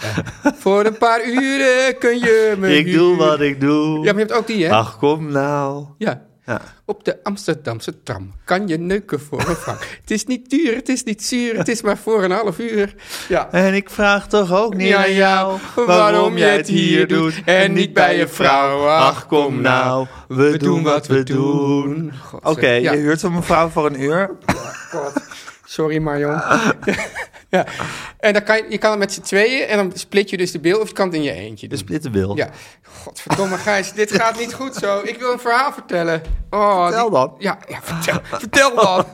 ja. voor een paar uren kun je me Ik doe huren. wat ik doe. Ja, maar je hebt ook die, hè? Ach, kom nou. Ja. Ja. Op de Amsterdamse tram kan je neuken voor een vak. het is niet duur, het is niet zuur, het is maar voor een half uur. Ja. En ik vraag toch ook niet aan jou waarom jij het hier doet en niet bij je vrouw. Ach, kom nou, we doen wat we doen. God, Oké, zeg. Ja. je huurt een mevrouw voor een uur. God. Sorry, Marion. ja. En dan kan je, je kan het met z'n tweeën en dan split je dus de bil of je kan het in je eentje De doen. splittenbil. Ja. Godverdomme, Gijs, dit gaat niet goed zo. Ik wil een verhaal vertellen. Oh, Vertel dan. Ja, ja vertel, vertel dan.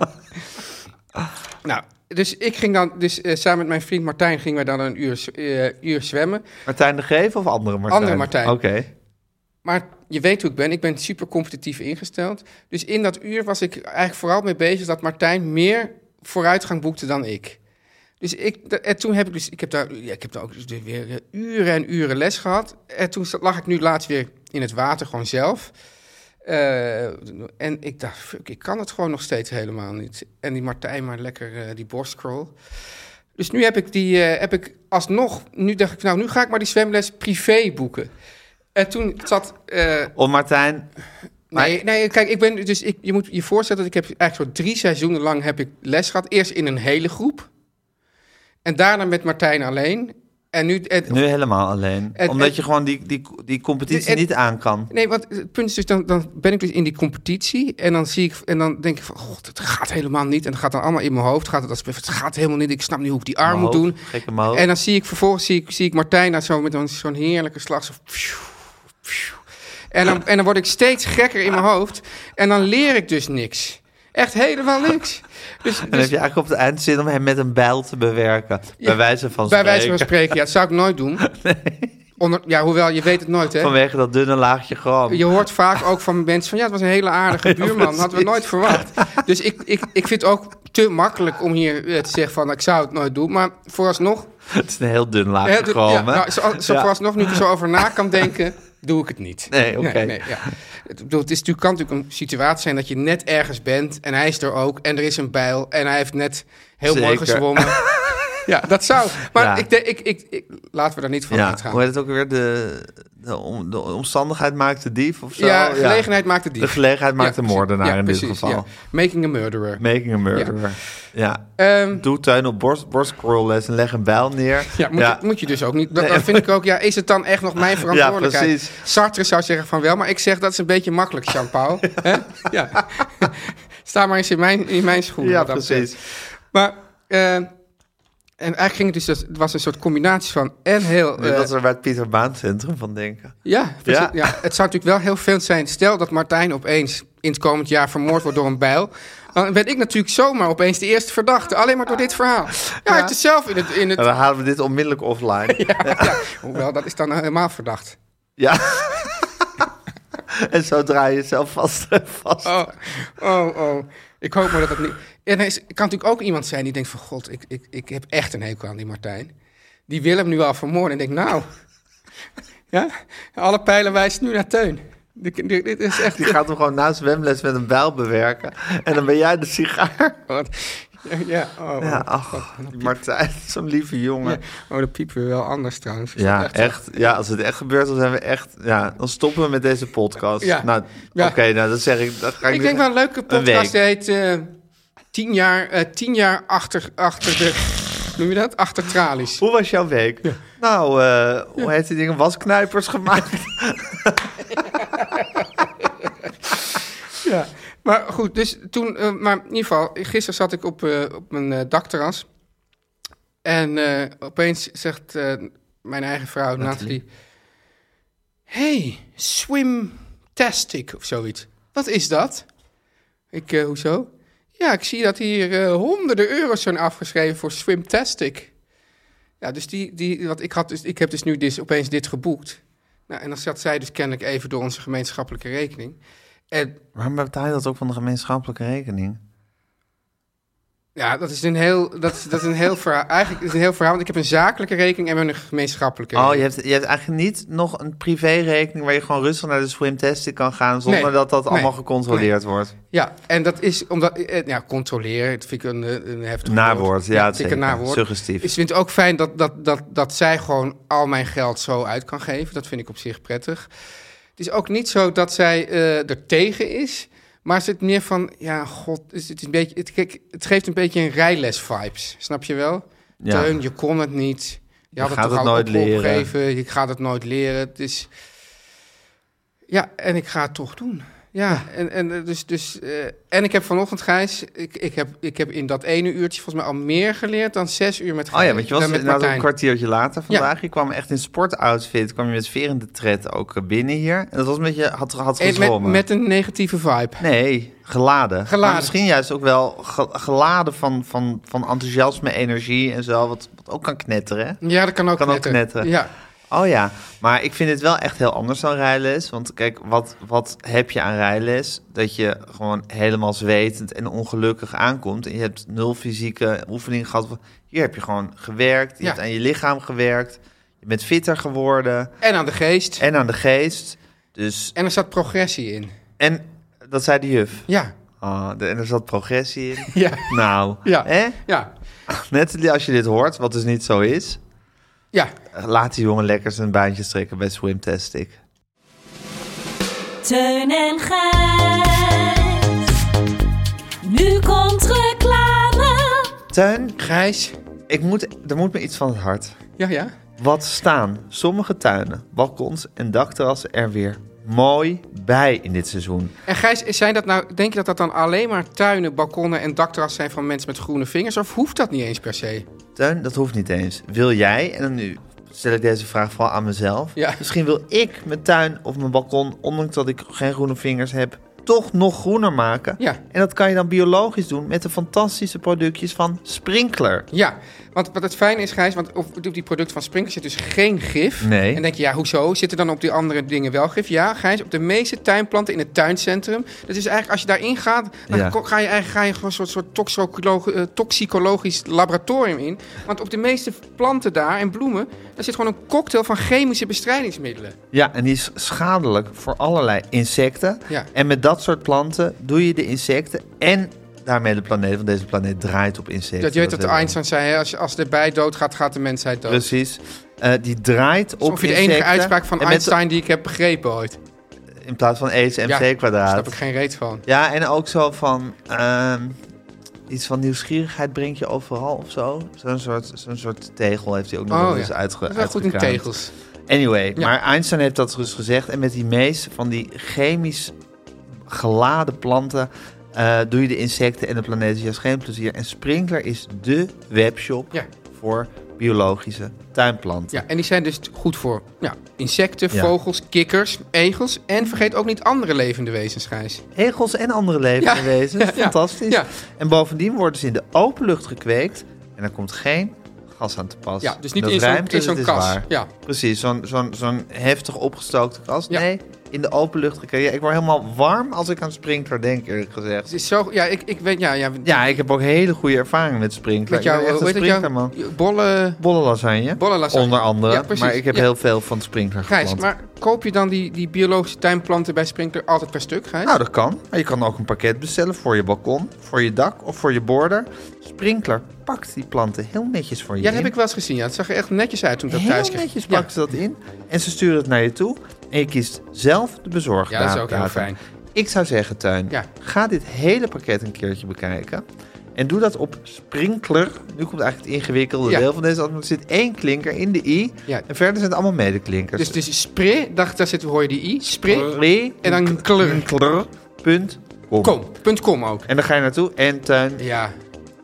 nou, dus ik ging dan, dus eh, samen met mijn vriend Martijn gingen wij dan een uur, z- eh, uur zwemmen. Martijn de Geef of andere Martijn? Andere Martijn. Oké. Maar je weet hoe ik ben. Ik ben super competitief ingesteld. Dus in dat uur was ik eigenlijk vooral mee bezig dat Martijn meer vooruitgang boekte dan ik. Dus ik, da- en toen heb ik dus, ik heb daar, ja, ik heb daar ook dus weer eh, uren en uren les gehad. En toen zat- lag ik nu laatst weer in het water, gewoon zelf. Eh, en ik dacht, fuck, ik kan het gewoon nog steeds helemaal niet. En die Martijn maar lekker eh, die borstcrawl. Dus nu heb ik die, eh, heb ik alsnog, nu dacht ik, nou, nu ga ik maar die zwemles privé boeken. En toen zat, eh, Om Martijn, Nee, nee, kijk, ik ben dus ik, je moet je voorstellen dat ik heb eigenlijk zo drie seizoenen lang heb ik les gehad. Eerst in een hele groep. En daarna met Martijn alleen. En nu. en- nu helemaal alleen. Het- Omdat het- je gewoon die, die, die competitie Het- niet aan kan. Nee, want het punt is dus, dan, dan ben ik dus in die competitie. En dan zie ik, en dan denk ik van, god, het gaat helemaal niet. En het gaat dan allemaal in mijn hoofd. Gaat het, als, het gaat helemaal niet. Ik snap niet hoe ik die arm moet Omhoog, doen. Gekke omhoog. En dan zie ik vervolgens zie ik, zie ik Martijn daar zo met een- zo'n heerlijke slag. Zo, pfiou, pfiou. en, dan, en dan word ik steeds gekker in mijn hoofd. En dan leer ik dus niks. Echt helemaal niks. Dus, En dan dus heb je eigenlijk op het eind zin om hem met een bijl te bewerken. Ja. bij wijze van bij spreken. wijze van spreken, ja, dat zou ik nooit doen. Onder, ja, hoewel, je weet het nooit, hè. Vanwege dat dunne laagje gram. Je hoort vaak ook van mensen van ja, het was een hele aardige buurman. hadden we nooit verwacht. Dus ik, ik, ik vind het ook te makkelijk om hier eh, te zeggen van ik zou het nooit doen. Maar vooralsnog Het is een heel dun laagje Hè, dus- gewoon, ja, hè? nou, zo, zo Ja. vooralsnog, nu ik er zo over na kan denken, doe ik het niet. Nee, oké. ja. Het, ik bedoel, het is, natuurlijk- kan natuurlijk een situatie zijn dat je net ergens bent en hij is er ook en er is een bijl en hij heeft net heel mooi Zeker. gezwommen. ja, dat zou. Maar Ja. ik, denk- ik, ik, ik, laten we daar niet van Ja, uitgaan. hoe heet het ook weer? De, de, om- de omstandigheid maakt de dief of zo? ja, gelegenheid maakt de dief. De gelegenheid maakt de Ja, moordenaar ja, in dit precies, geval. ja. Making a murderer. Making a murderer. Ja. Ehm, Doe tuin op borst, borstcrawlles en leg een bijl neer. ja, moet, Je, moet je dus ook niet. Dat, dat vind ik ook. Ja, is het dan echt nog mijn verantwoordelijkheid? precies. Sartre zou zeggen van wel, maar ik zeg dat is een beetje makkelijk, Jean-Paul. Hè? ja. Sta maar eens in mijn, in mijn schoenen. Ja, wat dat betreft. precies. Maar, eh, en eigenlijk ging het dus, dat- het was een soort combinatie van en heel... Nu eh, dat we er bij het Pieter Baan Centrum van denken. ja, precies. Ja. ja. het zou natuurlijk wel heel veel zijn. Stel dat Martijn opeens in het komend jaar vermoord wordt door een bijl. Dan ben ik natuurlijk zomaar opeens de eerste verdachte. Alleen maar door dit verhaal. Ja, het is zelf in het... In het En Nou, dan halen we dit onmiddellijk offline. Ja. Hoewel, dat is dan helemaal verdacht. En zo draai je jezelf vast en vast. Oh, oh, oh. Ik hoop maar dat het niet... En er is- er kan natuurlijk ook iemand zijn die denkt van... God, ik, ik, ik heb echt een hekel aan die Martijn. Die wil hem nu al vermoorden. En denkt, nou... Ja, alle pijlen wijzen nu naar Teun. Dit, dit- dit is echt... Die gaat hem gewoon naast zwemles met een bijl bewerken. En dan ben jij de sigaar. Wat? Ja, oh, Ja, ja. ach, die Martijn, zo'n lieve jongen. oh, dat piepen we wel anders trouwens. Ja, echt. Ja, als het echt gebeurt, dan zijn we echt... Ja, dan stoppen we met deze podcast. Ja. Nou, Ja. oké, nou, dat zeg ik. Dat ga ik Ik nu- denk wel een leuke week. podcast. Die heet eh, tien, jaar, eh, tien jaar achter, achter de... Noem je dat? Achter tralies. Hoe was jouw week? Nou, eh, hoe heet die dingen? Wasknijpers gemaakt. Ja. Maar goed, dus toen... eh, maar in ieder geval, gisteren zat ik op, eh, op mijn eh, dakterras. En eh, opeens zegt eh, mijn eigen vrouw, Nathalie... Hey, swimtastic of zoiets. Wat is dat? Ik, eh, hoezo? Ja, ik zie dat hier eh, honderden euro's zijn afgeschreven voor swimtastic. Ja, dus die, die, want ik, had dus, ik heb dus nu dus opeens dit geboekt. Nou, en dan zat zij dus kennelijk even door onze gemeenschappelijke rekening. En Waarom betaal je dat ook van de gemeenschappelijke rekening? Ja, dat is een heel, dat is, dat is een heel verhaal. Eigenlijk is het een heel verhaal, want ik heb een zakelijke rekening en we hebben een gemeenschappelijke Oh, je rekening. hebt, je hebt eigenlijk niet nog een privérekening waar je gewoon rustig naar de swimtesting kan gaan zonder Nee. dat dat Nee. allemaal gecontroleerd wordt. Ja, en dat is omdat, eh, ja, controleren, dat vind ik een, eh, een heftig Nawoord, ja, dat vind ik een zeker. nawoord. Suggestief. Ik vind het ook fijn dat, dat, dat, dat zij gewoon al mijn geld zo uit kan geven. Dat vind ik op zich prettig. Het is ook niet zo dat zij eh, er tegen is, maar ze het meer van, ja, god, is het, is een beetje, het, kijk, het geeft een beetje een rijles vibes, snap je wel? Ja. Teun, je kon het niet. Je, had gaat het, toch het al nooit leren. opgegeven. Je gaat het nooit leren. Het is... Ja, en ik ga het toch doen. Ja, en, en, eh, dus, dus, eh, en ik heb vanochtend, Gijs, ik, ik, heb, ik heb in dat ene uurtje volgens mij al meer geleerd dan zes uur met Oh ja, Gijs- want je was dan met inderdaad Martijn. een kwartiertje later vandaag. Je kwam echt in sportoutfit, kwam je met verende tred ook eh, binnen hier. En dat was een beetje, had, had En met, gezwommen. met een negatieve vibe. Nee, geladen. Geladen. Maar misschien juist ook wel ge- geladen van, van, van enthousiasme, energie en zo, wat, wat ook kan knetteren. hè? Ja, dat kan ook Kan ook knetteren. Ja, Oh ja, maar ik vind het wel echt heel anders dan rijles. Want kijk, wat, wat heb je aan rijles? Dat je gewoon helemaal zwetend en ongelukkig aankomt. En je hebt nul fysieke oefening gehad. Hier heb je gewoon gewerkt. Je Ja. hebt aan je lichaam gewerkt. Je bent fitter geworden. en aan de geest. En aan de geest. Dus, En er zat progressie in. en dat zei de juf. Ja, Ah, de- en er zat progressie in. ja, Nou, Ja. hè? ja, Net als je dit hoort, wat dus niet zo is. ja. Laat die jongen lekker zijn baantje trekken bij Swimtastic. Teun en Gijs. Nu komt reclame. Tuin, Gijs. Ik moet, er moet me iets van het hart. Ja, ja. Wat staan sommige tuinen, balkons en dakterrassen er weer mooi bij in dit seizoen. En Gijs, zijn dat nou, denk je dat dat dan alleen maar tuinen, balkonnen en dakterrassen zijn van mensen met groene vingers? Of hoeft dat niet eens per se? Tuin, dat hoeft niet eens. Wil jij, en dan nu stel ik deze vraag vooral aan mezelf. Ja. Misschien wil ik mijn tuin of mijn balkon, ondanks dat ik geen groene vingers heb, toch nog groener maken. Ja. En dat kan je dan biologisch doen met de fantastische productjes van Sprinkler. Ja, want wat het fijne is, Gijs, want op, op die product van Sprinkler zit dus geen gif. Nee. En denk je, ja, hoezo? Zit er dan op die andere dingen wel gif? Ja, Gijs, op de meeste tuinplanten in het tuincentrum. Dat is eigenlijk, als je daarin gaat, dan Ja. ko- ga je eigenlijk ga je gewoon een soort, soort toxicoloog- eh, toxicologisch laboratorium in. Want op de meeste planten daar en bloemen, daar zit gewoon een cocktail van chemische bestrijdingsmiddelen. Ja, en die is schadelijk voor allerlei insecten. Ja. En met dat soort planten doe je de insecten en daarmee de planeet, want deze planeet draait op insecten. Dat je weet dat willen we. Einstein zei, hè, als, je- als de bij doodgaat, gaat de mensheid dood. Precies. Eh, die draait op Dat is ongeveer de enige insecten. uitspraak van En met- Einstein die ik heb begrepen ooit. in plaats van E is mc Ja, Daar kwadraat. heb ik geen reet van. Ja, en ook zo van... ehm, iets van nieuwsgierigheid breng je overal of zo. Zo'n soort, zo'n soort tegel heeft hij ook nog Oh, wel ja. eens uitge Dat is wel goed in uitgekraamd. tegels. Anyway, Ja. maar Einstein heeft dat dus gezegd. En met die meeste van die chemisch geladen planten... eh, doe je de insecten en de planeten juist geen plezier. En Sprinkler is dé webshop Ja. voor biologische tuinplanten. Ja, en die zijn dus goed voor ja, insecten, Ja. vogels, kikkers, egels. En vergeet ook niet andere levende wezens, Gijs. Egels en andere levende Ja, wezens. ja, ja, Fantastisch. ja. En bovendien worden ze in de open lucht gekweekt. En daar komt geen gas aan te pas. Ja, dus niet Dat in zo'n- rijmt, in dus zo'n het is kas. waar. Ja. Precies, zo'n zo'n zo'n heftig opgestookte kas. Ja. Nee, in de open lucht gekregen. Ja, ik word helemaal warm als ik aan Sprinkler denk, eerlijk gezegd. Het is zo... Ja, ik, ik weet... Ja, ja, Ja, ik heb ook hele goede ervaring met Sprinkler. met jou... ik ben echt Hoe een heet het Sprinkler, jou? man. Je Bolle... Bolle lasagne. Bolle lasagne. Onder andere. Ja, precies. maar ik heb Ja. heel veel van Sprinkler Gijs, geplant. maar koop je dan die, die biologische tuinplanten bij Sprinkler altijd per stuk, Gijs? Nou, dat kan. Maar je kan ook een pakket bestellen voor je balkon, voor je dak of voor je border. Sprinkler pakt die planten heel netjes voor je ja, dat heb in. ik wel eens gezien. Ja. Het zag er echt netjes uit toen ik dat Heel thuis kreeg. netjes Ja. pakt ze dat in. En ze sturen het naar je toe. En je kiest zelf de bezorgdatum. Ja, dat is ook heel fijn. Ik zou zeggen, Tuin, Ja. ga dit hele pakket een keertje bekijken. En doe dat op Sprinkler. Nu komt eigenlijk het ingewikkelde Ja. deel van deze aflevering. Er zit één klinker in de i. Ja. En verder zijn het allemaal medeklinkers. Dus, dus spray, dacht, daar zit, hoor je die i. Spray. Spray- En dan kleur. Punt. Com. Kom. Punt com ook. En dan ga je naartoe. En Tuin Ja,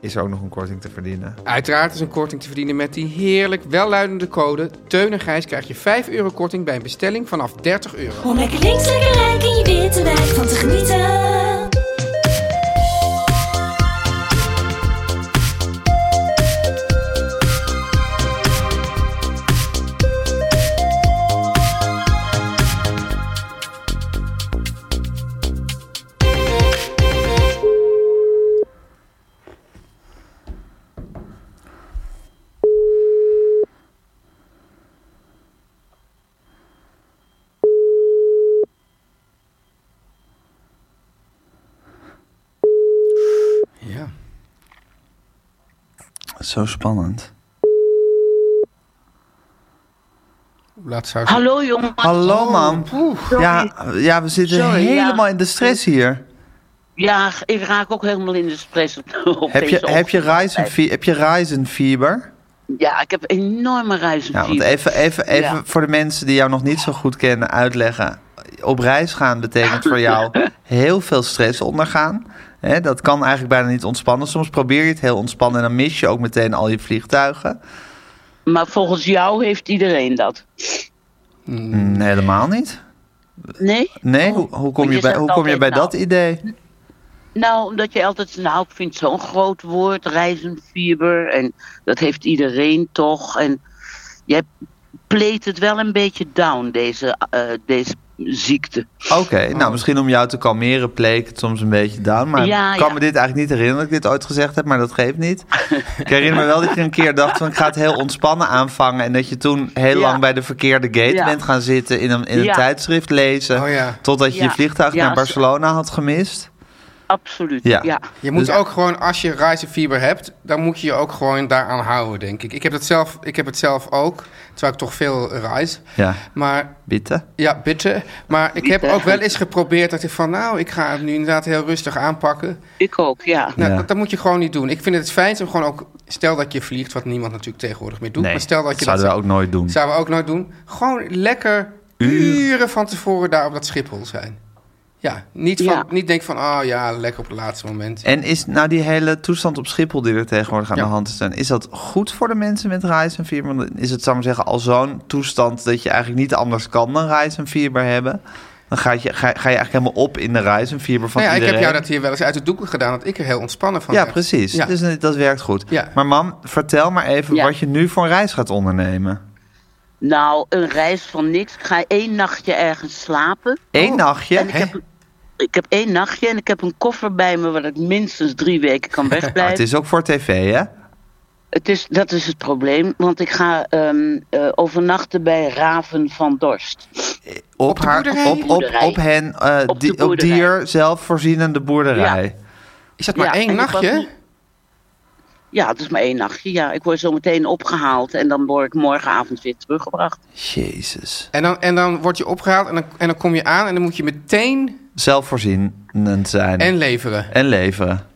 is er ook nog een korting te verdienen. uiteraard is een korting te verdienen met die heerlijk welluidende code. Teun en Gijs krijg je 5 euro korting bij een bestelling vanaf 30 euro. Om lekker links, lekker rijk in je witte wijk van te genieten. Ja. Zo spannend. Laat zou Hallo jongen. Hallo, mam. Ja, ja, we zitten Oh, Sorry, ja. helemaal in de stress hier. Ja, ik raak ook helemaal in de stress op, op Heb je, deze heb je ochtend. Ryzen fie- heb je Ryzen fever? Ja, ik heb enorme reizen. Ja, want even, even, even Ja. voor de mensen die jou nog niet zo goed kennen uitleggen. Op reis gaan betekent voor jou heel veel stress ondergaan. Hè, dat kan eigenlijk bijna niet ontspannen. Soms probeer je het heel ontspannen en dan mis je ook meteen al je vliegtuigen. Maar volgens jou heeft iedereen dat. Hm, helemaal niet. Nee? Nee, hoe, hoe kom Oh. want je bij, je zegt hoe kom je altijd bij nou. dat idee? Nou, omdat je altijd, nou, ik vind het zo'n groot woord, reizenfieber. En dat heeft iedereen toch. En jij pleet het wel een beetje down, deze, eh, deze ziekte. Oké, Oh. nou misschien om jou te kalmeren pleek het soms een beetje down. Maar Ja, ik kan ja. me dit eigenlijk niet herinneren dat ik dit ooit gezegd heb, maar dat geeft niet. ik herinner me wel dat je een keer dacht van ik ga het heel ontspannen aanvangen. En dat je toen heel Ja. lang bij de verkeerde gate Ja. bent gaan zitten in een, in een Ja. tijdschrift lezen. Oh ja. Totdat je Ja. je vliegtuig Ja, naar zo- Barcelona had gemist. Absoluut, Ja. ja. Je moet Dus- ook gewoon, als je reizenfieber hebt, dan moet je je ook gewoon daaraan houden, denk ik. Ik heb, dat zelf, ik heb het zelf ook, terwijl ik toch veel reis. Ja, Maar bitte. ja, bitte. Maar ik heb Bitte. ook wel eens geprobeerd dat ik van, nou, ik ga het nu inderdaad heel rustig aanpakken. Ik ook, ja. Nou, Ja. dat, dat moet je gewoon niet doen. Ik vind het fijn om gewoon ook, stel dat je vliegt, wat niemand natuurlijk tegenwoordig meer doet. Nee, maar stel dat, je dat zouden we ook nooit doen. zouden we ook nooit doen. Gewoon lekker uren van tevoren daar op dat Schiphol zijn. Ja, niet, van, Ja. niet denken van, oh ja, lekker op het laatste moment. En is nou die hele toestand op Schiphol die er tegenwoordig aan Ja. de hand is, dan, is dat goed voor de mensen met reizenfieber? Want Is het, zou ik maar zeggen, al zo'n toestand dat je eigenlijk niet anders kan dan reizenfieber hebben? Dan ga je, ga, ga je eigenlijk helemaal op in de reizenfieber van Nou ja, ik iedereen. heb jou dat hier wel eens uit de doeken gedaan, dat ik er heel ontspannen van ja, werd. precies. Ja. Dus dat- dat werkt goed. Ja. Maar mam, vertel maar even Ja. wat je nu voor een reis gaat ondernemen. Nou, een reis van niks. Ik ga één nachtje ergens slapen. Eén nachtje. Oh, En ik Hè? Oh, heb, ik heb één nachtje en ik heb een koffer bij me waar ik minstens drie weken kan Maar wegblijven. het is ook voor tv, hè? Het is, dat is het probleem, want ik ga ehm, eh, overnachten bij Raven van Dorst. Op, de boerderij? op, op, op hen, eh, Op de die, op boerderij. dier zelfvoorzienende boerderij. Is dat maar Ja, en één ik was nachtje? niet- Ja, het is maar één nachtje. Ja, ik word zo meteen opgehaald en dan word ik morgenavond weer teruggebracht. Jezus. En dan, en dan word je opgehaald en dan, en dan kom je aan en dan moet je meteen Zelfvoorzienend zijn. en leveren. en leveren.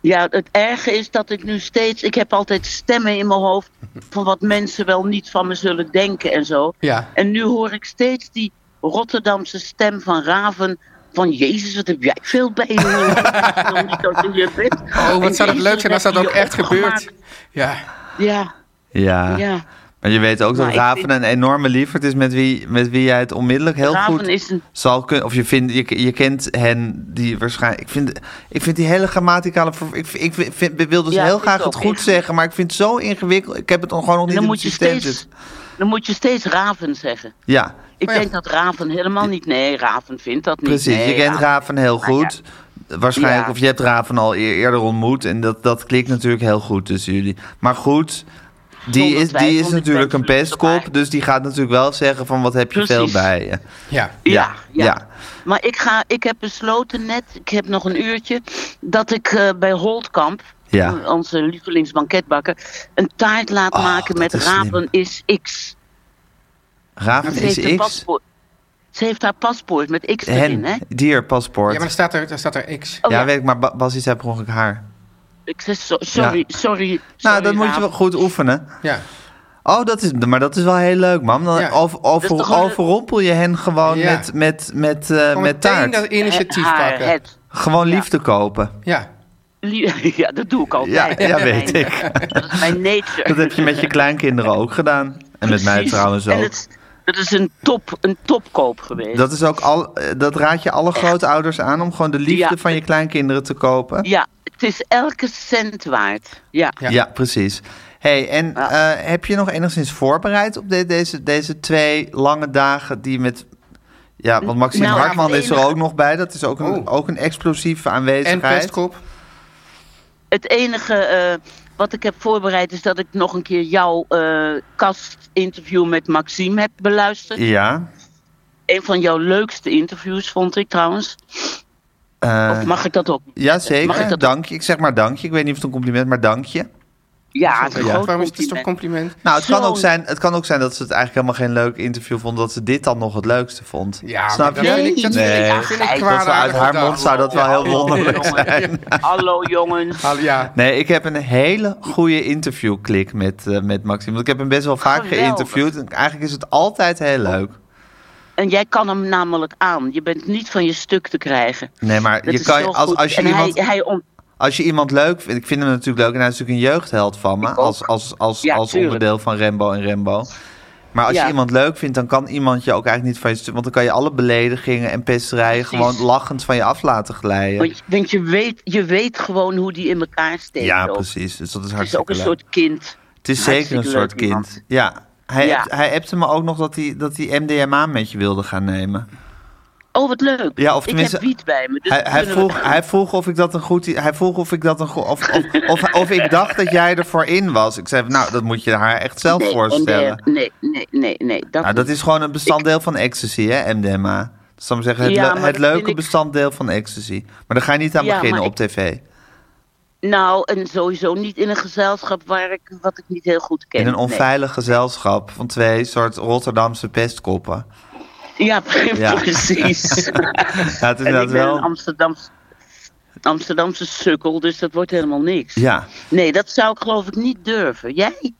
Ja, het erge is dat ik nu steeds, ik heb altijd stemmen in mijn hoofd van wat mensen wel niet van me zullen denken en zo. Ja. En nu hoor ik steeds die Rotterdamse stem van Raven. Van Jezus, wat heb jij veel bij je? Waarom niet dat je hier bent? Oh, En wat zou dat Jezus, leuk zijn als dat heb ook je echt opgemaakt. gebeurt. Ja, Ja, Ja. ja. Maar je weet ook Maar dat ik Raven vind- een enorme lieverd is met wie, met wie jij het onmiddellijk heel Raven goed is een- zal kunnen. Of je, vindt, je, je kent hen die waarschijnlijk. Ik vind, ik vind die hele grammaticale. ver- Ik, ik, vind- ik wil dus Ja, heel ik graag ook. het goed Ik- zeggen, maar ik vind het zo ingewikkeld. Ik heb het nog gewoon nog niet Dan in moet, het je systeem steeds, zitten. dan moet je steeds raven zeggen. Ja, Ik dus. Maar ja. denk dat Raven helemaal niet... Nee, Raven vindt dat niet. Precies, Nee, je kent Raven heel Maar ja. goed. Waarschijnlijk, Ja. of je hebt Raven al eer- eerder ontmoet. En dat, dat klikt natuurlijk heel goed tussen jullie. Maar goed, die Zonder is, die twijfel, is die natuurlijk een mensen moeten pestkop. maar- Dus die gaat natuurlijk wel zeggen van wat heb je Precies. veel bij je. Ja. Ja, Ja, ja, ja. Maar ik, ga, ik heb besloten net, ik heb nog een uurtje, dat ik eh, bij Holtkamp, Ja. eh, onze lievelingsbanketbakker, een taart laat Oh, maken dat met is slim. Raven is X. Raven Ze heeft, een is X. paspoort. Ze heeft haar paspoort met X erin, hè? Hen, dier, paspoort. ja, maar dan staat er, dan staat er X. Oh, ja, ja. weet ik, maar Ba- Bas is per ongeluk haar. Ik zeg, so- sorry, Ja. sorry. nou, sorry, dat moet je Raven. wel goed oefenen. Ja. Oh, dat is, maar dat is wel heel leuk, man. Dan Ja. over, Dat is over, toch wel- overrompel je hen gewoon Ja. met, met, met, eh, Gewoon met meteen taart. dat initiatief Haar- pakken. Eh, ah, het- Gewoon liefde kopen. Ja. lie- ja, dat doe ik Ja, altijd. ja, Dat is weet eh, mijn- ik. Dat is mijn nature. Dat heb je met je kleinkinderen ook gedaan. En met mij Precies. trouwens En ook. het, dat is een, top, een topkoop geweest. Dat, is ook al, eh, dat raad je alle grootouders aan om gewoon de liefde Ja. van je kleinkinderen te kopen. Ja, het is elke cent waard. Ja. Ja, precies. hey, en eh, heb je nog enigszins voorbereid op de- deze, deze twee lange dagen die met... Ja, want Maxime Nou, Hartman het is er enige- ook nog bij. Dat is ook een, Oh. ook een explosieve En aanwezigheid. pestkop. Het enige eh, wat ik heb voorbereid is dat ik nog een keer jouw eh, kastinterview met Maxime heb beluisterd. ja. Een van jouw leukste interviews vond ik trouwens. eh, of mag ik dat ook? ja, Mag ik zeker. dat- Dank je. Ik zeg maar dank je. Ik weet niet of het een compliment is, maar dank je. Ja, het is een groot Waarom is het toch compliment. compliment? Nou, het kan, Zo. ook zijn, het kan ook zijn dat ze het eigenlijk helemaal geen leuk interview vond. Dat ze dit dan nog het leukste vond. Ja, Snap maar je? dat vind ik- dat vind ik- nee. dat vind ik dat kwaadaardig ze uit haar gedacht. mond zou dat wel heel wonderlijk jongens. zijn. Hallo jongens. Ah, Nou, Ja. Nee, ik heb een hele goede interviewklik met, eh, met Maxime. Want ik heb hem best wel vaak Geweldig. geïnterviewd. En eigenlijk is het altijd heel leuk. En jij kan hem namelijk aan. Je bent niet van je stuk te krijgen. Nee, maar Dat je is kan, zo als, goed. als, je en iemand, hij, hij ont- als je iemand leuk vindt... Ik vind hem natuurlijk leuk en hij is natuurlijk een jeugdheld van me. ook. Als, als, als, Ja, als tuurlijk. onderdeel van Rembo en Rembo. Maar als je Ja. iemand leuk vindt, dan kan iemand je ook eigenlijk niet van je... stu- Want dan kan je alle beledigingen en pesterijen Precies. gewoon lachend van je af laten glijden. want, want je, weet, je weet gewoon hoe die in elkaar steekt. Ja, ook. precies. Dus dat is Het is ook hartstikke een leuk. soort kind. Het is zeker een Hartstikke soort leuk iemand. kind. Ja. Hij, Ja. Appt, hij appte me ook nog dat hij, dat hij MDMA met je wilde gaan nemen. Oh, wat leuk. Ja, of Ik tenminste- heb wiet bij me. Dus Hij, we hij, kunnen- vroeg, hij vroeg of ik dat een goed... i- Hij vroeg of ik dat een goed... Of, of, of, of ik dacht dat jij ervoor in was. Ik zei, nou, dat moet je haar echt zelf nee, eh, nou, voorstellen. MDR, nee, nee, nee, nee. Dat, Nou, dat is gewoon een bestanddeel van ecstasy, hè, MDMA. Dat zou ik zeggen, het, Ja, leu- het maar dat leuke vind ik- bestanddeel van ecstasy. Maar daar ga je niet aan Ja, beginnen maar op tv. Nou, en sowieso niet in een gezelschap waar ik, wat ik niet heel goed ken. In een nee. onveilig gezelschap van twee soort Rotterdamse pestkoppen. Ja, Ja. precies. Ja, het is en ik inderdaad ben een wel... Amsterdamse, Amsterdamse sukkel, dus dat wordt helemaal niks. Ja, Nee, dat zou ik geloof ik niet durven. Jij? Met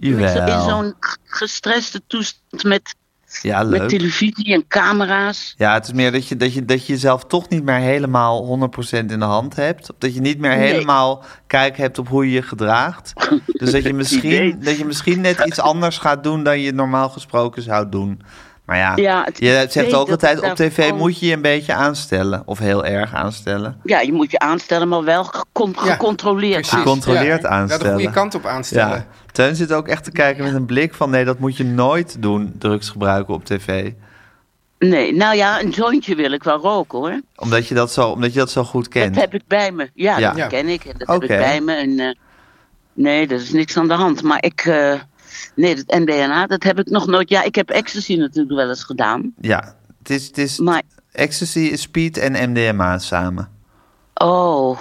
zo- In jawel. zo'n g- gestreste toestand met, Ja, met leuk. televisie en camera's. Ja, het is meer dat je, dat, je, dat je jezelf toch niet meer helemaal 100% in de hand hebt. Of dat je niet meer Nee. helemaal kijk hebt op hoe je je gedraagt. Dus dat je, misschien, Idee. dat je misschien net iets anders gaat doen dan je normaal gesproken zou doen. Maar ja, Ja, het je idee zegt dat ook ik altijd op daar tv gewoon- moet je je een beetje aanstellen. Of heel erg aanstellen. Ja, je moet je aanstellen, maar wel gecon- Ja, gecontroleerd. precies. Gecontroleerd Ja, aanstellen. Ja, de goede kant op aanstellen. Ja. Teun zit ook echt te kijken met een blik van nee, dat moet je nooit doen, drugs gebruiken op tv. Nee, nou ja, een jointje wil ik wel roken hoor. Omdat je dat zo, omdat je dat zo goed kent. Dat heb ik bij me. Ja, Ja. dat ken ik. En dat Oké. heb ik bij me. En, eh, nee, er is niks aan de hand. Maar ik... eh, nee, dat MDMA, dat heb ik nog nooit... Ja, ik heb ecstasy natuurlijk wel eens gedaan. Ja, het is, het is Maar... ecstasy, is speed en MDMA samen. Oh...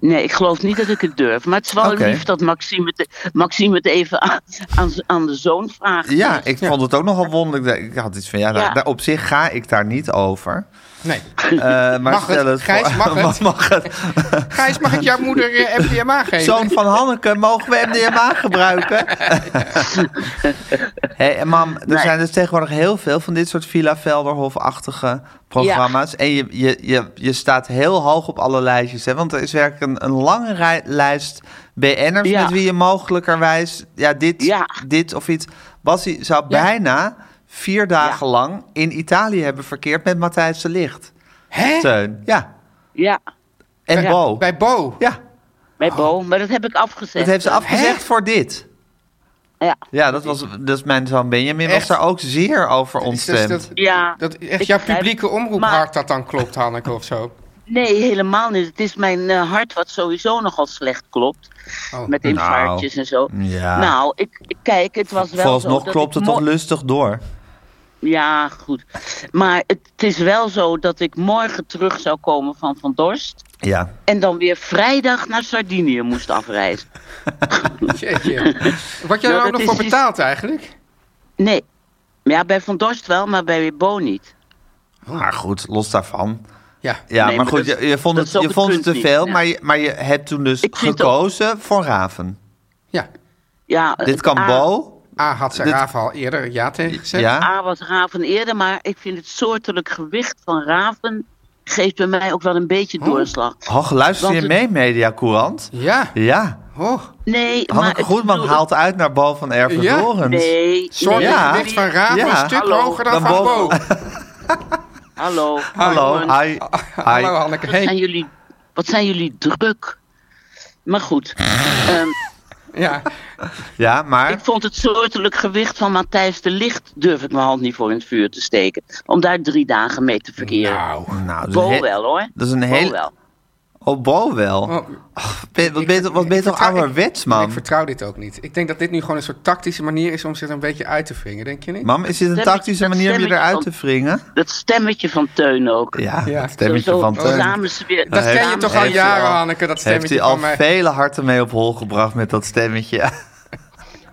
Nee, ik geloof niet dat ik het durf. Maar het is wel Oké. lief dat Maxime het, Maxime het even aan, aan, z- aan de zoon vraagt. Ja, ik vond het ook nogal wonderlijk. dat- Ik had iets van, ja, daar, Ja. daar- op zich ga ik daar niet over. Nee. Eh, maar Mag het? stel het, voor- Gijs, mag het? mag het? Gijs, mag ik jouw moeder eh, MDMA geven? Zoon van Hanneke, mogen we MDMA gebruiken? Hé, en mam, er Nee. zijn dus tegenwoordig heel veel van dit soort Villa Velderhof-achtige programma's. En je, je, je, je staat heel hoog op alle lijstjes, hè? Want er is werkelijk een, een lange rij- lijst BN'ers Ja. met wie je mogelijkerwijs... Ja, dit, Ja. dit of iets. Bassie zou bijna vier dagen lang in Italië hebben verkeerd met Matthijs de Licht. Hè? Teun, ja. Ja, En Ja. Bo. Bij Bo. Ja, bij Bo. Maar dat heb ik afgezegd. dat heeft ze afgezegd voor dit. Ja, Ja, dat was dus mijn zoon Benjamin was Echt? daar ook zeer over Is dus ontstemd. dat, ja. dat echt Ik jouw begrijp- publieke omroep maar- hard dat dan klopt, Hanneke, of zo? Nee, helemaal niet. Het is mijn eh, hart wat sowieso nogal slecht klopt. Oh. Met infarctjes en zo. Ja. Nou, ik, ik- kijk, het was wel zo Vooralsnog dat klopt ik het toch mo- lustig door. Ja, goed. Maar het, het is wel zo dat ik morgen terug zou komen van Van Dorst. Ja. En dan weer vrijdag naar Sardinië moest afreizen. Jeetje. Word jij Ja, er ook dat nog is voor dus- betaald eigenlijk? Nee. Ja, bij Van Dorst wel, maar bij Bo niet. Maar goed, los daarvan. Ja. Ja, Oh. maar Nee, maar goed, dat- je, je vond dat het, is ook je het vond het punt te niet, veel, ja. maar, je, maar je hebt toen dus Ik vind het ook- Eh, gekozen voor Raven. Ja. Ja, Dit het kan A- Bo. A had ze Dit- Rafa al eerder ja tegen gezegd. Ja. A was Raven eerder, maar ik vind het soortelijk gewicht van Raven geeft bij mij ook wel een Hm. beetje doorslag. Och, luister Want je het- mee, Media Courant? Ja. Ja. Oh. Nee, maar Hanneke het- Goedman bedoel- haalt uit naar Bo van Erven Ja. Dorens. Nee, Sorry, nee, Ja. het gewicht van Rafa Ja. een stuk Hallo. hoger dan, Dan van Bo. boven- Hallo. Hallo, jongens. hi. hi. Hallo Hanneke. Wat zijn Hey. jullie, wat zijn jullie druk? Maar goed, ehm, Ja. Ja, ik maar... vond het soortelijk gewicht van Matthijs de Licht durf ik mijn hand niet voor in het vuur te steken. Om daar drie dagen mee te verkeren. Nou. Nou, dat is een Bo he- wel hoor. Dat is een Bo hele... wel. Oh, Bo wel. Oh. Ben- Wat ben je toch- wat ben je toch vertrouw- ik- ouderwets, Ik man? vertrouw dit ook niet. Ik denk dat dit nu gewoon een soort tactische manier is om zich een beetje uit te wringen, denk je niet? Mam, is dit een Dat tactische stemmetje- manier om je dat eruit te stemmetje wringen? Dat stemmetje van Teun ook. Ja, Ja. dat stemmetje Zo van Teun. samen ze weer- dat ken je samen toch ze- al heeft hij jaren, al- Hanneke, dat Heeft stemmetje hij al van mij. vele harten mee op hol gebracht met dat stemmetje?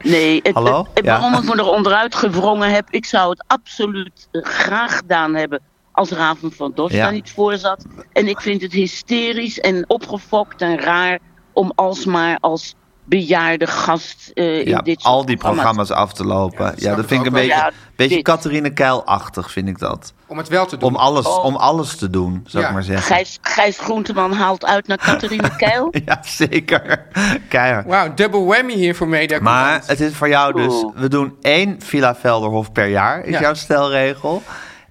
Nee, het, Hallo? het- het- Ja. waarom ik me er onderuit gewrongen heb, ik zou het absoluut eh, graag gedaan hebben als Raven van Dorst Ja. daar niet voor zat. En ik vind het hysterisch en opgefokt en raar om alsmaar als bejaarde gast eh, in Ja, dit soort al die programma's af te lopen. Ja, snap dat ik vind ik een ook wel. beetje, Ja, beetje dit. Catharine Keil-achtig, vind ik dat. Om het wel te doen. Om alles, Oh. om alles te doen, zou Ja. ik maar zeggen. Gijs, Gijs Groenteman haalt uit naar Catharine Keil. Ja, zeker. Keihard. Wauw, double whammy hier voor media. Maar het is voor jou dus, Oeh. we doen één Villa Velderhof per jaar, is Ja. jouw stelregel.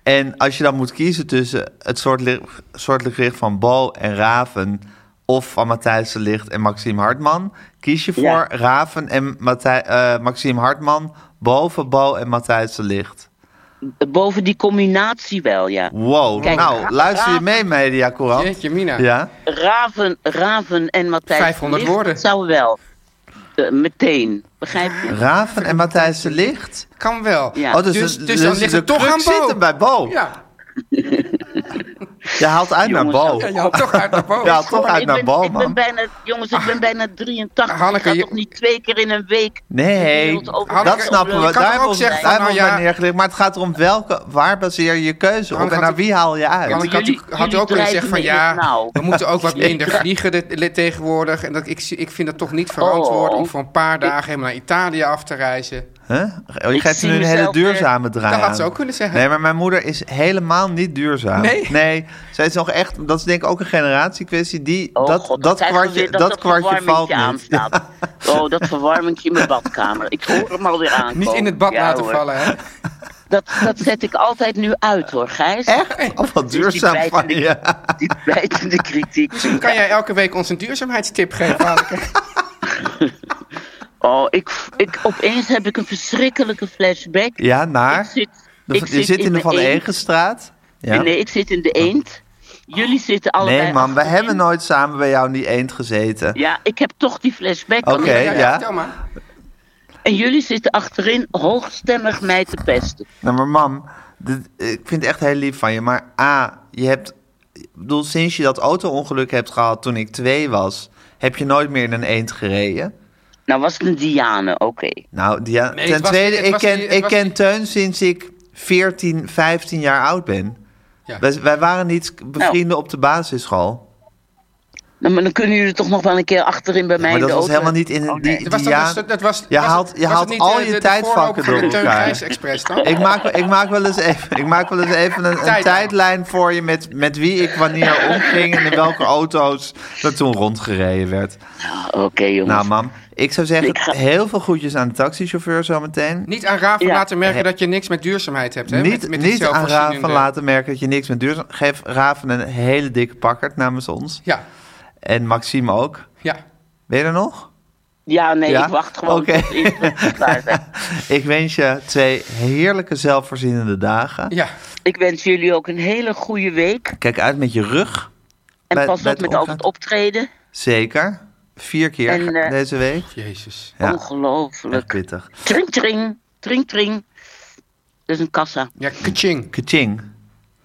En als je dan moet kiezen tussen het soortli- soortelijk gericht van Bo en Raven... of van Matthijs de Licht en Maxime Hartman... kies je voor Ja. Raven en Matthij- eh, Maxime Hartman boven Bo en Matthijs de Licht. Boven die combinatie wel, ja. Wow, Kijk, nou, Ra- luister je Raven- mee, Media Courant? Jeetje, Mina. Ja, Raven, Raven en Matthijs. 500 Licht, woorden. dat zou wel. Eh, meteen, begrijp je? Raven en Matthijs de Licht? Kan wel. Ja. Oh, dus, Dus- de- dus dan ligt de het toch kruk aan Bo. zit hem bij Bo. Ja, Je haalt uit naar Jongens, Bo. ja je haalt toch uit naar boven. Ja, toch uit ik naar Ah, ben, Bo, ik ben man. bijna, jongens, ik ben bijna 83. Hanneke, ik ga je- toch niet twee keer in een week. de Nee, wereld over- Hanneke, dat snappen we. Daar kan toch hebben ook we zeggen daar van, hebben we nou naar ja- neergelegd. Maar het gaat erom welke, waar baseer je je keuze op Hanneke, en naar had- wie haal je uit? Want ik had, Jullie- u- had u jullie ook kunnen zeggen van drijven me in nou. het ja, nauw. we moeten ook wat minder vliegen dit- dit tegenwoordig. En dat, ik, zie- ik vind het toch niet verantwoord om Oh. voor een paar dagen helemaal naar Italië af te reizen. Huh? Oh, je Ik geeft zie nu een hele mezelf weer- duurzame draai Dat had aan. ze ook kunnen zeggen. Nee, maar mijn moeder is helemaal niet duurzaam. Nee? zij is nog echt, dat is denk ik ook een generatiekwestie. Die, Oh dat, dat god, dan krijgen we kwartje, weer dat kwartje verwarmingtje valt niet. aanstaat. Oh, dat verwarmingje in mijn badkamer. Ik hoor hem alweer aankomen. Niet in het bad Oh, Ja, laten hoor. vallen, hè? Dat, dat zet ik altijd nu uit hoor, Gijs. Echt? Of wat Dus die duurzaam van bijtende- je. Die bijtende kritiek. Kan jij elke week ons een duurzaamheidstip geven, Hanneke? Oh, ik, ik, opeens heb ik een verschrikkelijke flashback. Ja, Ik naar? zit, De- ik je zit in de Van eend. Egenstraat. Ja. Nee, ik zit in de eend. Jullie zitten allebei... Nee, man, we achterin. hebben nooit samen bij jou in die eend gezeten. Ja, ik heb toch die flashback. Oké. want- ja. vertel maar. En jullie zitten achterin hoogstemmig mij te pesten. Nou, maar mam, dit- ik vind het echt heel lief van je. Maar A, je hebt... Ik bedoel, sinds je dat auto-ongeluk hebt gehad toen ik twee was... heb je nooit meer in een eend gereden. Nou was het een Diane, oké. Nou, die, ja, Nee, ten het was- tweede, het ik was ken, die- het ik was ken die- Teun sinds ik 14, 15 jaar oud ben. Ja. Nou. Wij, wij waren niet bevrienden op de basisschool. Nou, maar dan kunnen jullie toch nog wel een keer achterin bij mij Maar in dat de was auto. helemaal niet in Oh, een... nee. die, Dat was, die dat ja- was, dat was, je was het- haalt, was je het haalt niet, al eh, je de- de voorloper tijdvakken van door de Teun elkaar. Gijs Express dan? Ik maak, ik maak wel eens even, ik maak wel eens even een, een Tijdlijn. tijdlijn voor je met, met wie ik wanneer omging en in welke auto's er toen rondgereden werd. Ah, Oké jongens. Nou, mam, ik zou zeggen Ik ga- heel veel groetjes aan de taxichauffeur zometeen. Niet aan Raven Ja. laten merken dat je niks met duurzaamheid hebt, hè? Niet, met, met die niet aan zelfvoorzienende- Raven laten merken dat je niks met duurzaam... Geef Raven een hele dikke pakkert namens ons. Ja, En Maxime ook. ja. Ben je er nog? Ja, nee, Ja? ik wacht gewoon Oké. tot de instructies klaar zijn. Ik wens je twee heerlijke zelfvoorzienende dagen. Ja, Ik wens jullie ook een hele goede week. Kijk uit met je rug. En Bij- pas bij op het met al omgaan. het optreden. Zeker. Vier keer En, eh, deze week. jezus. Ja, echt Ongelooflijk. pittig. Tring, tring. Tring, tring. Dat is een kassa. Ja, kaching. Kaching.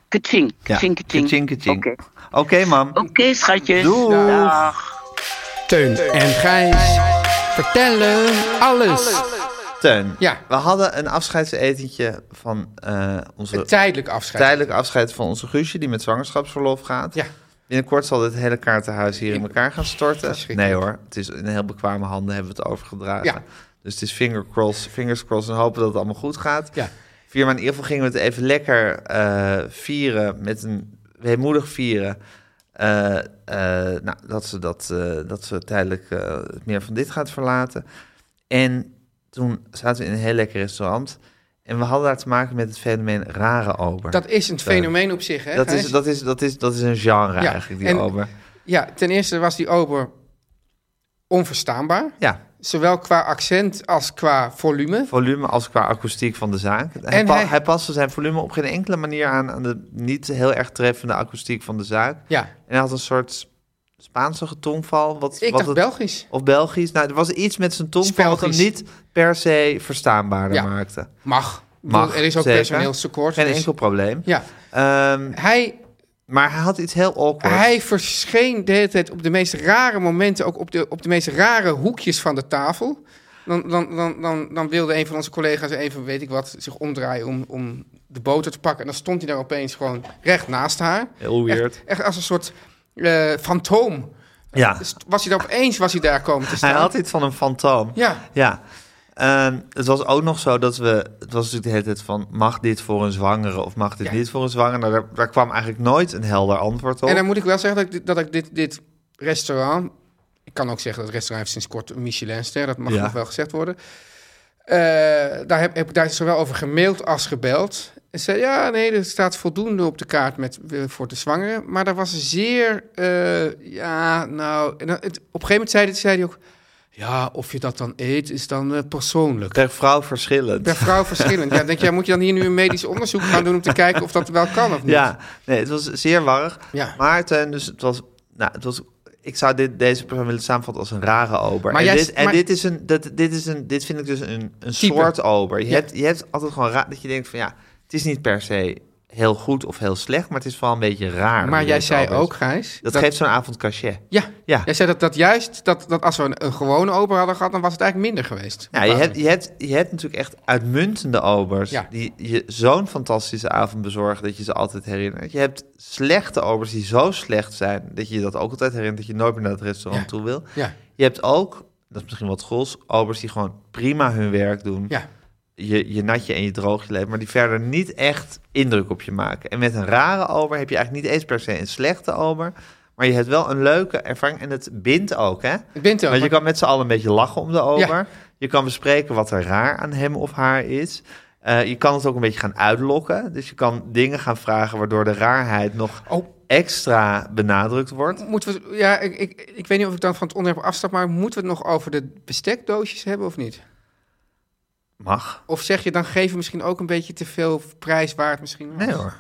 Kaching. Ja. Kaching, kaching. Kaching, kaching. Oké, Oh. Oké, mam. Oké, schatjes. Doeg. Dag. Teun en Gijs vertellen alles. Teun. Ja. We hadden een afscheidsetentje van eh, onze... Een tijdelijk afscheid. Tijdelijk afscheid van onze Guusje, die met zwangerschapsverlof gaat. Ja. Binnenkort zal dit hele kaartenhuis hier in elkaar gaan storten. Nee Verschrikkelijk. hoor, het is in heel bekwame handen hebben we het overgedragen. Ja. Dus het is finger cross, fingers crossed en hopen dat het allemaal goed gaat. Ja. Vier, maar in ieder geval gingen we het even lekker eh, vieren met een weemoedig vieren. Eh, eh, nou, dat ze, dat, eh, dat ze tijdelijk eh, het meer van dit gaat verlaten. En toen zaten we in een heel lekker restaurant. En we hadden daar te maken met het fenomeen rare ober. Dat is een fenomeen op zich, hè? Dat Gijs? is, dat, is, dat, is, dat is een genre Ja, eigenlijk, die en- ober. Ja, ten eerste was die ober onverstaanbaar. Ja, Zowel qua accent als qua volume. volume als qua akoestiek van de zaak. Hij, En pa- hij- hij paste zijn volume op geen enkele manier aan... aan de niet heel erg treffende akoestiek van de zaak. Ja, En hij had een soort Spaanse tongval. Wat, wat ik dacht het- Belgisch. Of Belgisch. Nou, er was iets met zijn tongval dat hem Spelgisch. niet per se verstaanbaarder Ja. maakte. Mag. Mag, Mag er is ook zeker. personeelstekort. Geen dus- enkel probleem. Ja, Ehm, hij, maar hij had iets heel awkward. hij verscheen de hele tijd op de meest rare momenten, ook op de, op de meest rare hoekjes van de tafel. Dan, dan, dan, dan, dan wilde een van onze collega's even, weet ik wat, zich omdraaien om, om de boter te pakken. En dan stond hij daar opeens gewoon recht naast haar. Heel weird. Echt, echt als een soort eh, fantoom. ja. Dus was hij daar opeens was hij daar komen te staan. Hij had iets van een fantoom. Ja, Ja. Ehm, het was ook nog zo dat we... Het was natuurlijk de hele tijd van... Mag dit voor een zwangere of mag dit Ja. niet voor een zwangere? Nou, daar, daar kwam eigenlijk nooit een helder antwoord op. en dan moet ik wel zeggen dat ik, dit- dat ik dit, dit restaurant... Ik kan ook zeggen dat het restaurant heeft sinds kort een Michelinster. Dat mag Ja. nog wel gezegd worden. Eh, daar heb, heb ik daar zowel over gemaild als gebeld. En zei, ja, nee, er staat voldoende op de kaart met, eh, voor de zwangeren. Maar daar was een zeer, eh, ja, nou... En dan- het, op een gegeven moment zei, hij- zei hij ook... Ja, of je dat dan eet, is dan eh, persoonlijk. Per vrouw verschillend. Per vrouw verschillend. Ja, denk je, ja, moet je dan hier nu een medisch onderzoek gaan doen om te kijken of dat wel kan of niet? Ja, nee, het was zeer warrig. Ja. Maar ten, dus het was, nou, het was, ik zou dit, deze persoon willen samenvatten als een rare ober. Maar en jij- dit, en maar- dit, is een, dat, dit is een, dit vind ik dus een, een Type. soort ober. Je, Ja. hebt, je hebt altijd gewoon raar dat je denkt van ja, het is niet per se heel goed of heel slecht, maar het is vooral een beetje raar. Maar hoe jij deze zei ober is. ook, Gijs... Dat, geeft zo'n avond cachet. Ja, Ja. jij zei dat, dat juist, dat, dat als we een, een gewone ober hadden gehad, dan was het eigenlijk minder geweest. Ja, je, hebt, je, hebt, je hebt natuurlijk echt uitmuntende obers Ja. die je zo'n fantastische avond bezorgen dat je ze altijd herinnert. Je hebt slechte obers die zo slecht zijn dat je je dat ook altijd herinnert, dat je nooit meer naar het restaurant Ja. toe wil. Ja, Je hebt ook, dat is misschien wat gros, obers die gewoon prima hun werk doen. ja. Je, je natje en je droogje leven, maar die verder niet echt indruk op je maken. En met een rare ober heb je eigenlijk niet eens per se een slechte ober, maar je hebt wel een leuke ervaring en het bindt ook, hè? Ik ben het ook. Want je kan met z'n allen een beetje lachen om de ober. Ja. Je kan bespreken wat er raar aan hem of haar is. Eh, je kan het ook een beetje gaan uitlokken. Dus je kan dingen gaan vragen waardoor de raarheid nog Oh. extra benadrukt wordt. Moeten we, ja, ik, ik, ik weet niet of ik dan van het onderwerp afstap, maar moeten we het nog over de bestekdoosjes hebben of niet? Mag. Of zeg je, dan geven we misschien ook een beetje te veel prijs waard misschien? was? Nee hoor.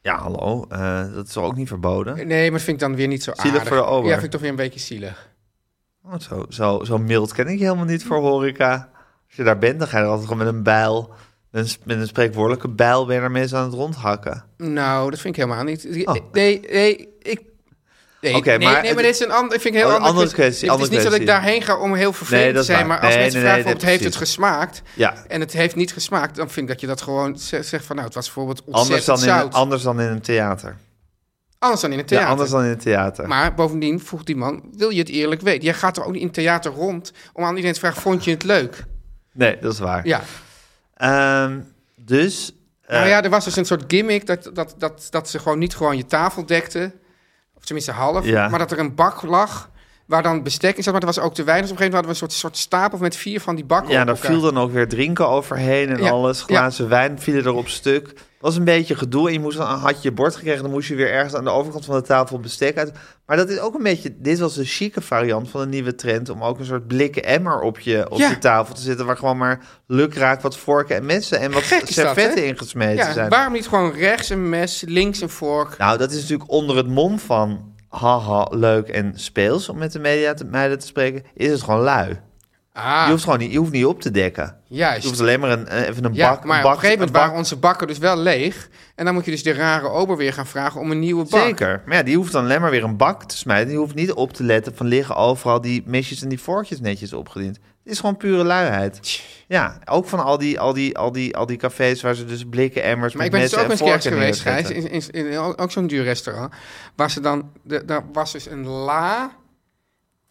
Ja, hallo. Eh, dat is toch ook niet verboden? Nee, maar dat vind ik dan weer niet zo Zielig aardig. voor de ober. Ja, vind ik toch weer een beetje zielig. Oh, zo, zo, zo mild ken ik je helemaal niet voor horeca. Als je daar bent, dan ga je er altijd gewoon met een bijl... Met een, met een spreekwoordelijke bijl ben je daar mensen aan het rondhakken. Nou, dat vind ik helemaal niet. Oh. Nee, nee, ik... Nee, Oké, nee, maar nee, maar het- dit is een ander, vind ik een heel Oh, een ander andere kwestie, Het is andere niet dat kwestie. ik daarheen ga om heel vervelend Nee, dat te is zijn, waar. maar als Nee, mensen nee, nee, vragen, wat dit- heeft het gesmaakt? Ja, En het heeft niet gesmaakt, dan vind ik dat je dat gewoon ze- zegt van, nou, het was bijvoorbeeld anders ontzettend dan, in, zout. een- anders dan in een theater. anders dan in het Ja, theater. anders dan in het theater. Maar bovendien vroeg die man, wil je het eerlijk weten? Jij gaat er ook niet in het theater rond om aan iedereen te vragen, vond je het leuk? Nee, dat is waar. Ja. Ehm, dus. eh, nou ja, er was dus een soort gimmick dat, dat, dat, dat ze gewoon niet gewoon je tafel dekten. Of tenminste half. Ja. Maar dat er een bak lag waar dan bestek in zat, maar dat was ook te weinig. Dus op een gegeven moment hadden we een soort, soort stapel met vier van die bakken Ja, op daar elkaar. viel dan ook weer drinken overheen en Ja, alles. ja. Glazen wijn vielen erop stuk. was een beetje gedoe. En je moest dan, had je je bord gekregen, dan moest je weer ergens aan de overkant van de tafel bestek uit. Maar dat is ook een beetje, dit was de chique variant van een nieuwe trend... om ook een soort blikken emmer op je, op Ja. je tafel te zitten... waar gewoon maar lukraak wat vorken en messen en wat Gek is dat, servetten hè? ingesmeten Ja, zijn. waarom niet gewoon rechts een mes, links een vork? Nou, dat is natuurlijk onder het mom van... haha, leuk en speels, om met de media te, meiden te spreken... is het gewoon lui. Je Ah, hoeft gewoon niet, je hoeft niet op te dekken. Je hoeft juist. alleen maar een, eh, even een Ja, bak... maar een op bak, een gegeven moment een bak- waren onze bakken dus wel leeg. En dan moet je dus de rare ober weer gaan vragen om een nieuwe bak. Zeker. Maar ja, die hoeft dan alleen maar weer een bak te smijten. Die hoeft niet op te letten van liggen overal die mesjes en die vorkjes netjes opgediend. Het is gewoon pure luiheid. Ja, ook van al die, al die, al die, al die cafés waar ze dus blikken emmers Maar ik met ben dus messen en ook eens kerst vorken geweest, Gijs, neerzetten. in, in, in, in- ook zo'n duur restaurant. Waar ze dan, de- daar was dus een la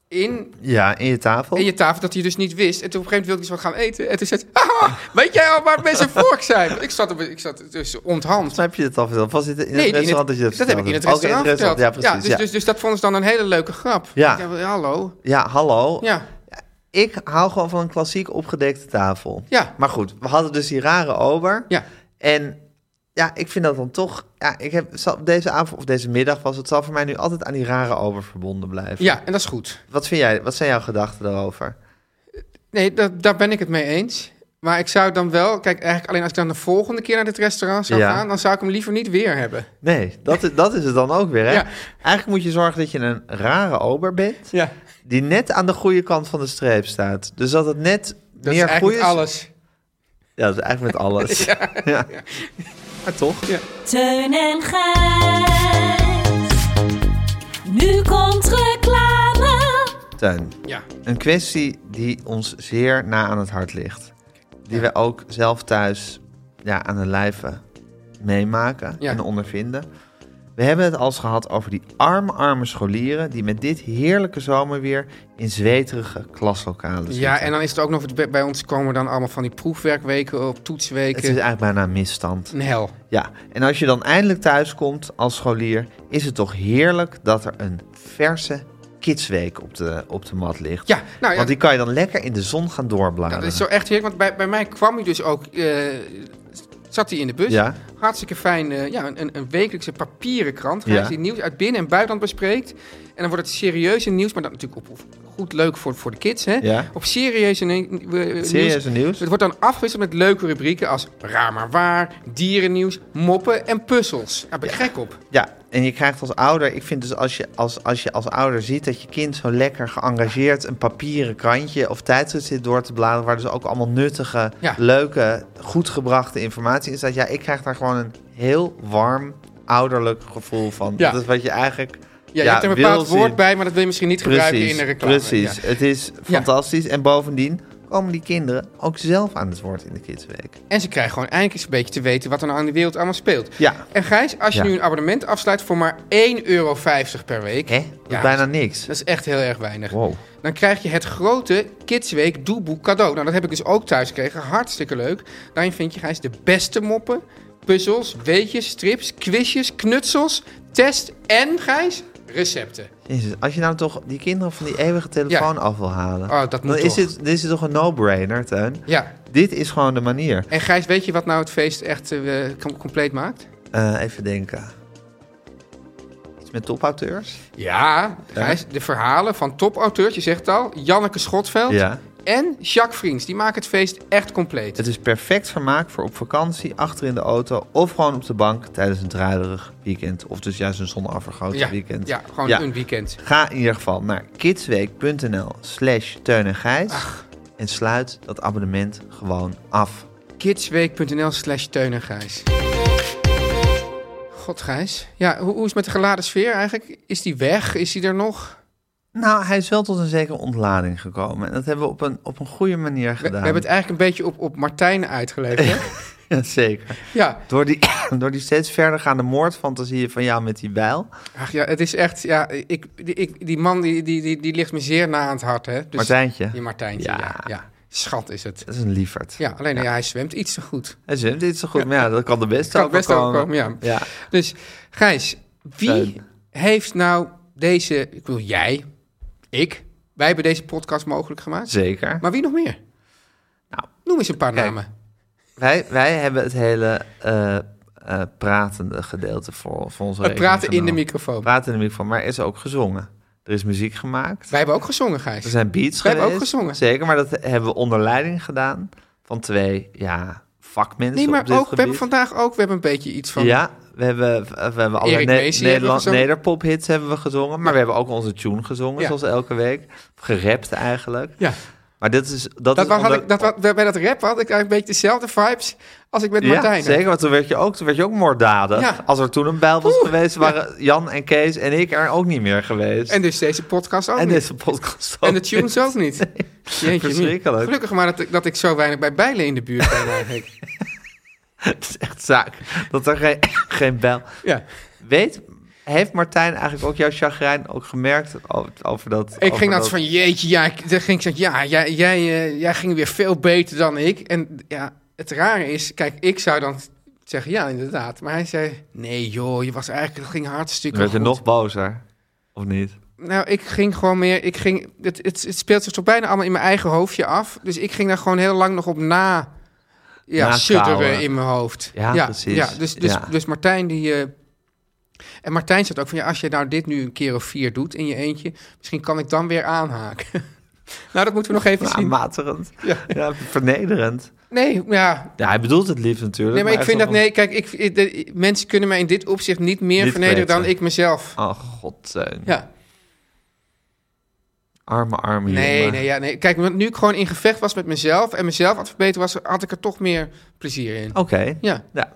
in, Ja, in je tafel. in je tafel dat hij dus niet wist. En toen op een gegeven moment wilde ik eens wat gaan eten. En toen zei ze, "Haha, weet jij al waar mensen vork zijn? Want Ik zat, op, ik zat dus onthand. Snap je dit al verteld? Of Was dit in het Nee, die in restaurant dat het- je dat heb ik in het verteld hebt? restaurant Oké, in het verteld. restaurant, Ja, precies. dus, Dus, dus dat vonden ze dan een hele leuke grap. Ja. Ik dacht, hallo. Ja, hallo. Ja. Ik hou gewoon van een klassiek opgedekte tafel. Ja. Maar goed, we hadden dus die rare ober. Ja. En ja, ik vind dat dan toch... Ja, ik heb, zal, deze avond of deze middag was het... zal voor mij nu altijd aan die rare ober verbonden blijven. ja, en dat is goed. Wat, vind jij, wat zijn jouw gedachten daarover? Nee, dat, daar ben ik het mee eens. Maar ik zou dan wel, kijk, eigenlijk alleen als ik dan de volgende keer naar dit restaurant zou Ja. gaan, dan zou ik hem liever niet weer hebben. Nee, dat, is- dat is het dan ook weer, hè? Ja. Eigenlijk moet je zorgen dat je een rare ober bent... Ja, die net aan de goede kant van de streep staat. Dus dat het net dat is meer eigenlijk goed is... alles. Ja, dat is eigenlijk met alles. ja. Maar toch? Teun en Gijs. Nu komt reclame. Tuin. Ja, Een kwestie die ons zeer na aan het hart ligt. Die we ook zelf thuis ja, aan de lijve meemaken Ja. en ondervinden. We hebben het al eens gehad over die arme, arme scholieren... die met dit heerlijke zomerweer in zweterige klaslokalen zitten. ja en dan is het ook nog, bij- bij ons komen dan allemaal van die proefwerkweken op Het toetsweken. is eigenlijk bijna een misstand. Een hel. Ja, en als je dan eindelijk thuis komt als scholier... is het toch heerlijk dat er een verse kidsweek op de, op de mat ligt. Ja, nou ja, Want die kan je dan lekker in de zon gaan doorbladeren. dat is zo echt heerlijk, want bij, bij mij kwam hij dus ook, eh, zat hij in de bus. Ja. Hartstikke fijn, eh, ja, een, een, een wekelijkse papieren krant. Ja. Gijs, die nieuws uit binnen- en buitenland bespreekt. En dan wordt het serieuze nieuws, maar dat natuurlijk op, op- goed leuk voor, voor de kids, hè? Ja. Op serieuze ne- eh, nieuws. Serieuze nieuws? Het wordt dan afgewisseld met leuke rubrieken als raar maar waar, dierennieuws, moppen en puzzels. Daar ben ik gek op. Ja, en je krijgt als ouder, ik vind dus als je als, als je als ouder ziet dat je kind zo lekker geëngageerd een papieren krantje of tijdschrift zit door te bladeren, waar dus ook allemaal nuttige, Ja. leuke, goed gebrachte informatie in staat. Ja, ik krijg daar gewoon een heel warm ouderlijk gevoel van. Ja. Dat is wat je eigenlijk Ja, je hebt er een wil bepaald zien. woord bij, maar dat wil je misschien niet gebruiken in Precies, een reclame. precies. Ja. Het is Ja. fantastisch. En bovendien komen die kinderen ook zelf aan het woord in de Kidsweek. En ze krijgen gewoon eindelijk eens een beetje te weten wat er nou aan de wereld allemaal speelt. Ja. En Gijs, als je Ja. nu een abonnement afsluit voor maar 1,50 euro per week. Hè? Dat is Ja. bijna niks. Dat is echt heel erg weinig. Wow. Dan krijg je het grote Kidsweek doeboek cadeau. Nou, dat heb ik dus ook thuis gekregen. Hartstikke leuk. Daarin vind je, Gijs, de beste moppen, puzzels, weetjes, strips, quizjes, knutsels, test en, Gijs, recepten. Jezus, als je nou toch die kinderen van die eeuwige telefoon Ja. af wil halen. Oh, dat moet dan is toch. dit, dit is toch een no-brainer, Teun? Ja. Dit is gewoon de manier. En Gijs, weet je wat nou het feest echt eh, com- compleet maakt? Eh, even denken. Iets met topauteurs? Ja. Gijs, de verhalen van topauteurs, je zegt het al, Janneke Schotveld Ja. en Jacques Vriends. Die maken het feest echt compleet. Het is perfect vermaak voor op vakantie, achter in de auto... of gewoon op de bank tijdens een druilerig weekend. Of dus juist een zonafvergroten ja, weekend. ja, gewoon Ja. een weekend. Ga in ieder geval naar kidsweek.nl slash Teun en Gijs... en sluit dat abonnement gewoon af. kidsweek.nl slash Teun en Gijs. God, Gijs. Ja, hoe, hoe is het met de geladen sfeer eigenlijk? Is die weg? Is die er nog? Nou, hij is wel tot een zekere ontlading gekomen. En dat hebben we op een, op een goede manier We, we gedaan. hebben het eigenlijk een beetje op, op Martijn uitgeleverd. hè? Ja, zeker. ja. Door die, door die steeds verder gaande moordfantasieën van jou met die bijl. Ach ja, het is echt... Ja, ik, die, ik, die man die, die, die, die ligt me zeer na aan het hart, hè? Dus, Martijntje. Die Martijntje, ja. Ja. ja, Schat is het. Dat is een lieverd. Ja, alleen ja. hij zwemt iets te goed. Hij zwemt dit zo goed, maar ja, dat kan de beste Kan ook best wel ook komen, ja. Ja. Dus Gijs, wie Teun. heeft nou deze... Ik bedoel, jij... Ik. Wij hebben deze podcast mogelijk gemaakt. Zeker. Maar wie nog meer? Nou, Noem eens een paar Kijk. namen. Wij, wij hebben het hele eh, eh, pratende gedeelte voor, voor onze Het rekening praten in de genomen. microfoon. Praten in de microfoon, maar er is ook gezongen. Er is muziek gemaakt. Wij hebben ook gezongen, Gijs. Er zijn beats Wij geweest. hebben ook gezongen. Zeker, maar dat hebben we onder leiding gedaan van twee ja, vakmensen nee, dus op maar dit ook, we gebied. hebben vandaag ook we hebben een beetje iets van... Ja, we hebben, we hebben alle Erik ne- Meesie hebben we Nederland, gezongen. Nederpop hits hebben we gezongen. Maar we hebben ook onze tune gezongen, Ja. zoals elke week. Gerapt eigenlijk. Ja. Maar dit is, dat Dat is was- had onder- ik, dat, was- bij dat rap had ik eigenlijk een beetje dezelfde vibes als ik met Ja, Martijn. zeker, want toen werd je ook, toen werd je ook moorddadig. Ja. Als er toen een bijl was Oeh, geweest, waren Jan en Kees en ik er ook niet meer geweest. En dus deze podcast ook En niet. deze podcast ook en de tunes niet. ook niet. Jeetje, verschrikkelijk. mie. Gelukkig maar dat ik, dat ik zo weinig bij bijlen in de buurt ben eigenlijk. Het is echt zaak dat er geen, geen bijl... Ja. Weet, heeft Martijn eigenlijk ook jouw chagrijn ook gemerkt over, over dat... Ik over ging dat van, jeetje, ja, ik, dan ging ik zeggen, ja, jij, jij, eh, jij ging weer veel beter dan ik. En ja, het rare is, kijk, ik zou dan zeggen, ja, inderdaad. Maar hij zei, nee joh, je was eigenlijk, dat ging hartstikke Dan werd je goed. nog bozer, of niet? Nou, ik ging gewoon meer, ik ging, het, het, het speelt zich toch bijna allemaal in mijn eigen hoofdje af. Dus ik ging daar gewoon heel lang nog op na, ja, Naschouwen. sudderen in mijn hoofd. Ja, precies. Ja, dus, dus, Ja. dus Martijn die... eh, en Martijn zegt ook van, ja, als je nou dit nu een keer of vier doet in je eentje, misschien kan ik dan weer aanhaken. nou, dat moeten we nog even Nou, zien. Aanmatigend. Ja. vernederend. Nee, ja. Ja, hij bedoelt het liefst natuurlijk. Nee, maar ik hij vind is dat, wel nee, kijk, ik, ik- de- mensen kunnen mij in dit opzicht niet meer Niet vernederen dan weten. ik mezelf. van, Oh, god, Teun. Ja. Arme, arme Nee, jongen. nee, ja, nee. Kijk, want nu ik gewoon in gevecht was met mezelf en mezelf aan het verbeteren was, had ik er toch meer plezier in. Oké. Ja. Ja.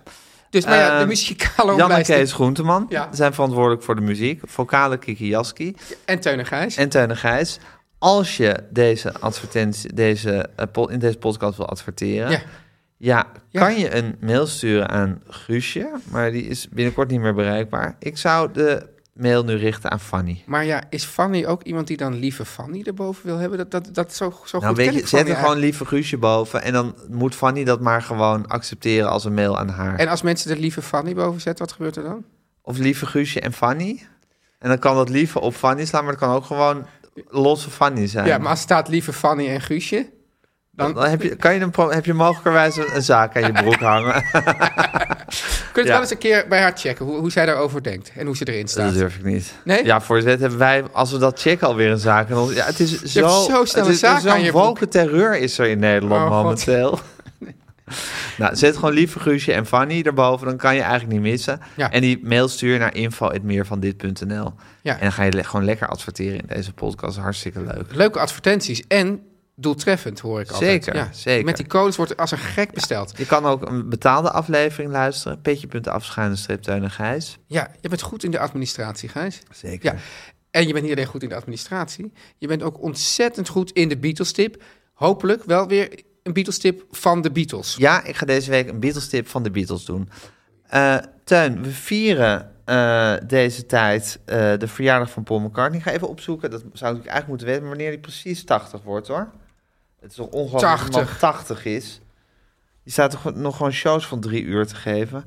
Dus nou ja, de Eh, muzikale Oh. Jan en omlijsting. Kees Groenteman Ja. zijn verantwoordelijk voor de muziek. Vocale Kiki Jaski en Teun en Gijs. en Teun en Gijs. Als je deze advertentie, deze, eh, po- in deze podcast wil adverteren... Ja. Ja. Ja. kan je een mail sturen aan Guusje? Maar die is binnenkort niet meer bereikbaar. Ik zou de mail nu richten aan Fanny. Maar ja, is Fanny ook iemand die dan lieve Fanny erboven wil hebben? Dat, dat, dat zo, zo Nou, Oh, goed weet ken je, ik zet Fanny er gewoon eigenlijk. lieve Guusje boven. En dan moet Fanny dat maar gewoon accepteren als een mail aan haar. En als mensen er lieve Fanny boven zetten, wat gebeurt er dan? Of lieve Guusje en Fanny. En dan kan dat lieve op Fanny slaan, maar dat kan ook gewoon losse Fanny zijn. Ja, maar als staat lieve Fanny en Guusje, dan, Dan heb je, kan je een pro- heb je mogelijkerwijs een, een zaak aan je broek hangen. kun je het ja. wel eens een keer bij haar checken hoe, hoe zij daarover denkt en hoe ze erin staat. Dat durf ik niet. Nee? Ja, voor het wet hebben wij, als we dat checken, alweer een zaak. aan ons. Ja, het is zo, hebt zo snel het een zaak aan je broek. woke terreur is er in Nederland Oh, God. momenteel. nou, zet gewoon lieve Guusje en Fanny erboven, dan kan je eigenlijk niet missen. Ja. En die mail stuur je naar info.meervandit.nl. Ja. En dan ga je le- gewoon lekker adverteren in deze podcast. Hartstikke leuk. Leuke advertenties en doeltreffend, hoor ik altijd. Zeker, Ja, zeker. Met die codes wordt er als een gek besteld. Je kan ook een betaalde aflevering luisteren. Petje.af schuine streep Teun en Gijs. Ja, je bent goed in de administratie, Gijs. Zeker. Ja. En je bent niet alleen goed in de administratie, je bent ook ontzettend goed in de Beatles-tip. Hopelijk wel weer een Beatles-tip van de Beatles. Ja, ik ga deze week een Beatles-tip van de Beatles doen. Eh Teun, we vieren eh, deze tijd eh, de verjaardag van Paul McCartney. Ik ga even opzoeken, dat zou ik eigenlijk moeten weten, maar wanneer hij precies 80 wordt hoor. Het is toch ongelooflijk dat 80. iemand 80 is. Die staat toch nog gewoon shows van drie uur te geven.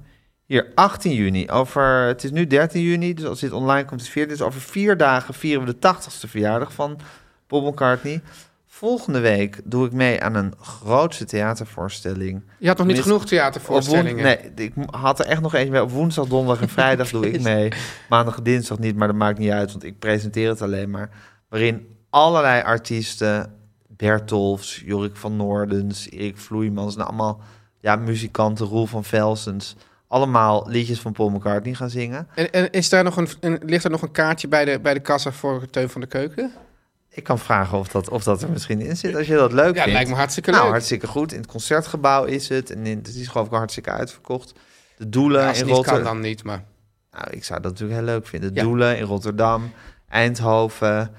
Hier, 18 juni. Over, het is nu 13 juni, dus als dit online komt is 4. Dus over vier dagen vieren we de 80ste verjaardag van Paul McCartney. Volgende week doe ik mee aan een grootste theatervoorstelling. Je had nog niet Mis- genoeg Op theatervoorstellingen. woen- nee, ik mo- had er echt nog eentje mee. Op woensdag, donderdag en vrijdag doe ik mee. Maandag en dinsdag niet, maar dat maakt niet uit, want ik presenteer het alleen maar. Waarin allerlei artiesten, Bertolfs, Jorik van Noordens, Erik Vloeimans, nou allemaal ja, muzikanten, Roel van Velsens, allemaal liedjes van Paul McCartney gaan zingen. En, en is daar nog een, een- ligt er nog een kaartje bij de, bij de kassa voor Teun van de Keuken? Ik kan vragen of dat, of dat er misschien in zit, als je dat leuk Ja, vindt. lijkt me hartstikke nou, leuk. hartstikke goed. In het concertgebouw is het. En in, het is geloof ik al hartstikke uitverkocht. De Doelen Ja, als in het niet Rotterdam. kan, dan niet. Maar Nou, ik zou dat natuurlijk heel leuk vinden. Ja. Doelen in Rotterdam, Eindhoven,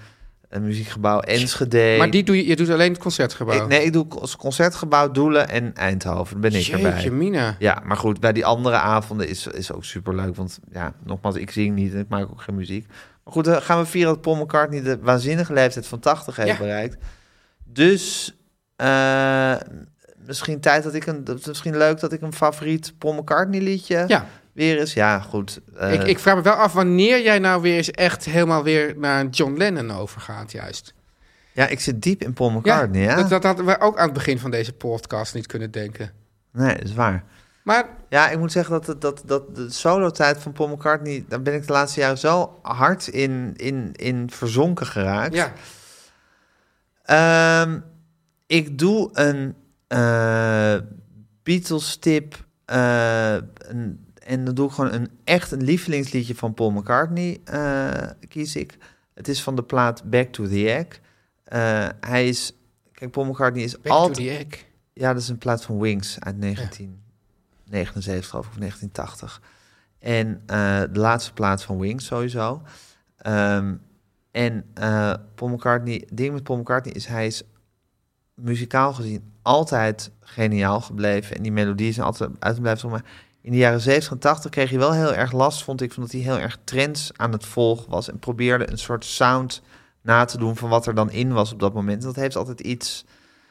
een muziekgebouw Enschede. maar die doe je, je doet alleen het concertgebouw. Ik- nee, ik doe als concertgebouw Doelen en Eindhoven. Dan ben ik Jeetje, erbij. Mina. Ja, maar goed, bij die andere avonden is, is ook superleuk. Want ja, nogmaals, ik zing niet en ik maak ook geen muziek. Maar goed, dan gaan we vieren dat Paul McCartney de waanzinnige leeftijd van 80 heeft Ja. bereikt. Dus eh, misschien tijd dat ik een... dat is Misschien leuk dat ik een favoriet Paul McCartney liedje Ja, weer is. Ja, goed. eh, ik, ik vraag me wel af wanneer jij nou weer eens echt helemaal weer naar John Lennon overgaat, juist. ja, ik zit diep in Paul McCartney, ja? Dat, dat hadden we ook aan het begin van deze podcast niet kunnen denken. Nee, dat is waar. Maar Ja, ik moet zeggen dat, het- dat, dat de solo-tijd van Paul McCartney... daar ben ik de laatste jaren zo hard in, in, in verzonken geraakt. ja, Ehm, ik doe een eh Beatles-tip. eh, een- en dan doe ik gewoon een, echt een lievelingsliedje van Paul McCartney. eh, kies ik. Het is van de plaat Back to the Egg. Eh, hij is... Kijk, Paul McCartney is back altijd... to the egg. Ja, dat is een plaat van Wings uit 1979 geloof ik, of 1980. En eh, de laatste plaat van Wings sowieso. Ehm, en eh Paul McCartney, het ding met Paul McCartney is hij is muzikaal gezien altijd geniaal gebleven. En die melodieën zijn altijd uit blijven zingen. Maar in de jaren 70 en 80 kreeg hij wel heel erg last, vond ik, van dat hij heel erg trends aan het volgen was. En probeerde een soort sound na te doen van wat er dan in was op dat moment. En dat heeft altijd iets...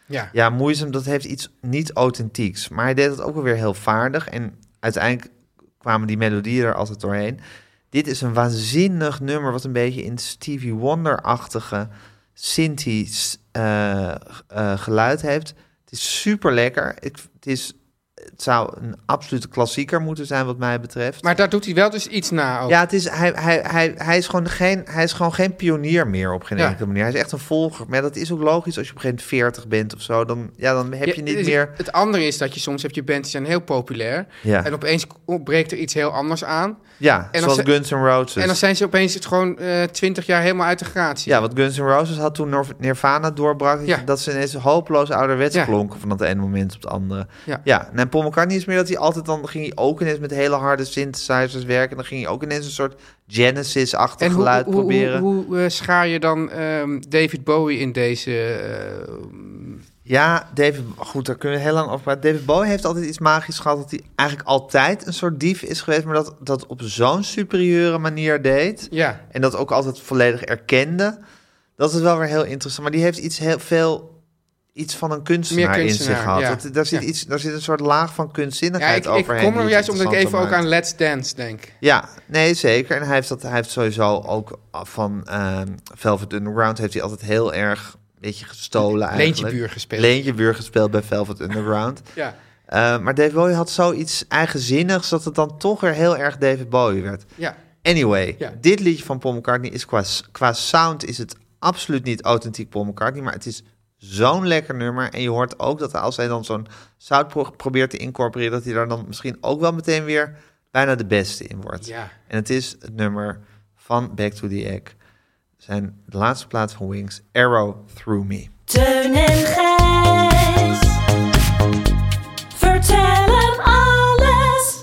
Ja. Ja, moeizaam, dat heeft iets niet authentieks. Maar hij deed het ook wel weer heel vaardig. En uiteindelijk kwamen die melodieën er altijd doorheen. Dit is een waanzinnig nummer, wat een beetje in Stevie Wonder-achtige Sinti eh, eh, geluid heeft. Het is super lekker. Ik, het, is, het zou een absolute klassieker moeten zijn, wat mij betreft. Maar daar doet hij wel dus iets na ook. Ja, het is, hij, hij, hij, hij, is gewoon geen, hij is gewoon geen pionier meer op geen Ja. enkele manier. Hij is echt een volger. Maar dat is ook logisch als je op een gegeven moment 40 bent of zo. Dan, ja, dan heb je Ja, dus niet het- meer... Het andere is dat je soms hebt je bands die zijn heel populair. Ja. En opeens breekt er iets heel anders aan. Ja, dan zoals ze- Guns N' Roses. En dan zijn ze opeens het gewoon eh, twintig jaar helemaal uit de gratie. Dus- Ja, wat Guns N' Roses had toen Nor- Nirvana doorbrak... dat Ja. je- dat ze ineens hopeloos ouderwets Ja. klonken... van het ene moment op het andere. Ja. ja en Paul McCartney is meer dat hij altijd... dan ging hij ook ineens met hele harde synthesizers werken... en dan ging hij ook ineens een soort Genesis-achtig en hoe, geluid hoe, hoe- proberen. hoe, eh, schaar je dan ehm, David Bowie in deze... eh, Ja, David, goed, daar kunnen we heel lang over praten. David Bowie heeft altijd iets magisch gehad... dat hij eigenlijk altijd een soort dief is geweest... maar dat dat op zo'n superieure manier deed... ja, en dat ook altijd volledig erkende. Dat is wel weer heel interessant. Maar die heeft iets heel veel iets van een kunstenaar, Meer in kunstenaar, zich gehad. ja. Dat, daar, zit Ja. iets, daar zit een soort laag van ja kunstzinnigheid ik, ik overheen. kom die er het juist omdat ik even interessanter ook aan maakt. Let's Dance denk. Ja, nee, zeker. En hij heeft, dat, hij heeft sowieso ook van ehm, Velvet Underground... heeft hij altijd heel erg, een beetje gestolen eigenlijk. Leentjebuur gespeeld. Leentjebuur gespeeld bij Velvet Underground. Ja. Eh, maar David Bowie had zoiets eigenzinnigs... dat het dan toch weer heel erg David Bowie werd. ja. Anyway, Ja. dit liedje van Paul McCartney is qua, qua sound is het absoluut niet authentiek Paul McCartney, maar het is zo'n lekker nummer. En je hoort ook dat als hij dan zo'n sound pro- probeert te incorporeren, dat hij daar dan misschien ook wel meteen weer bijna de beste in wordt. Ja. En het is het nummer van Back to the Egg, zijn de laatste plaat van Wings, Arrow Through Me. Teun en Gijs. Vertel hem alles.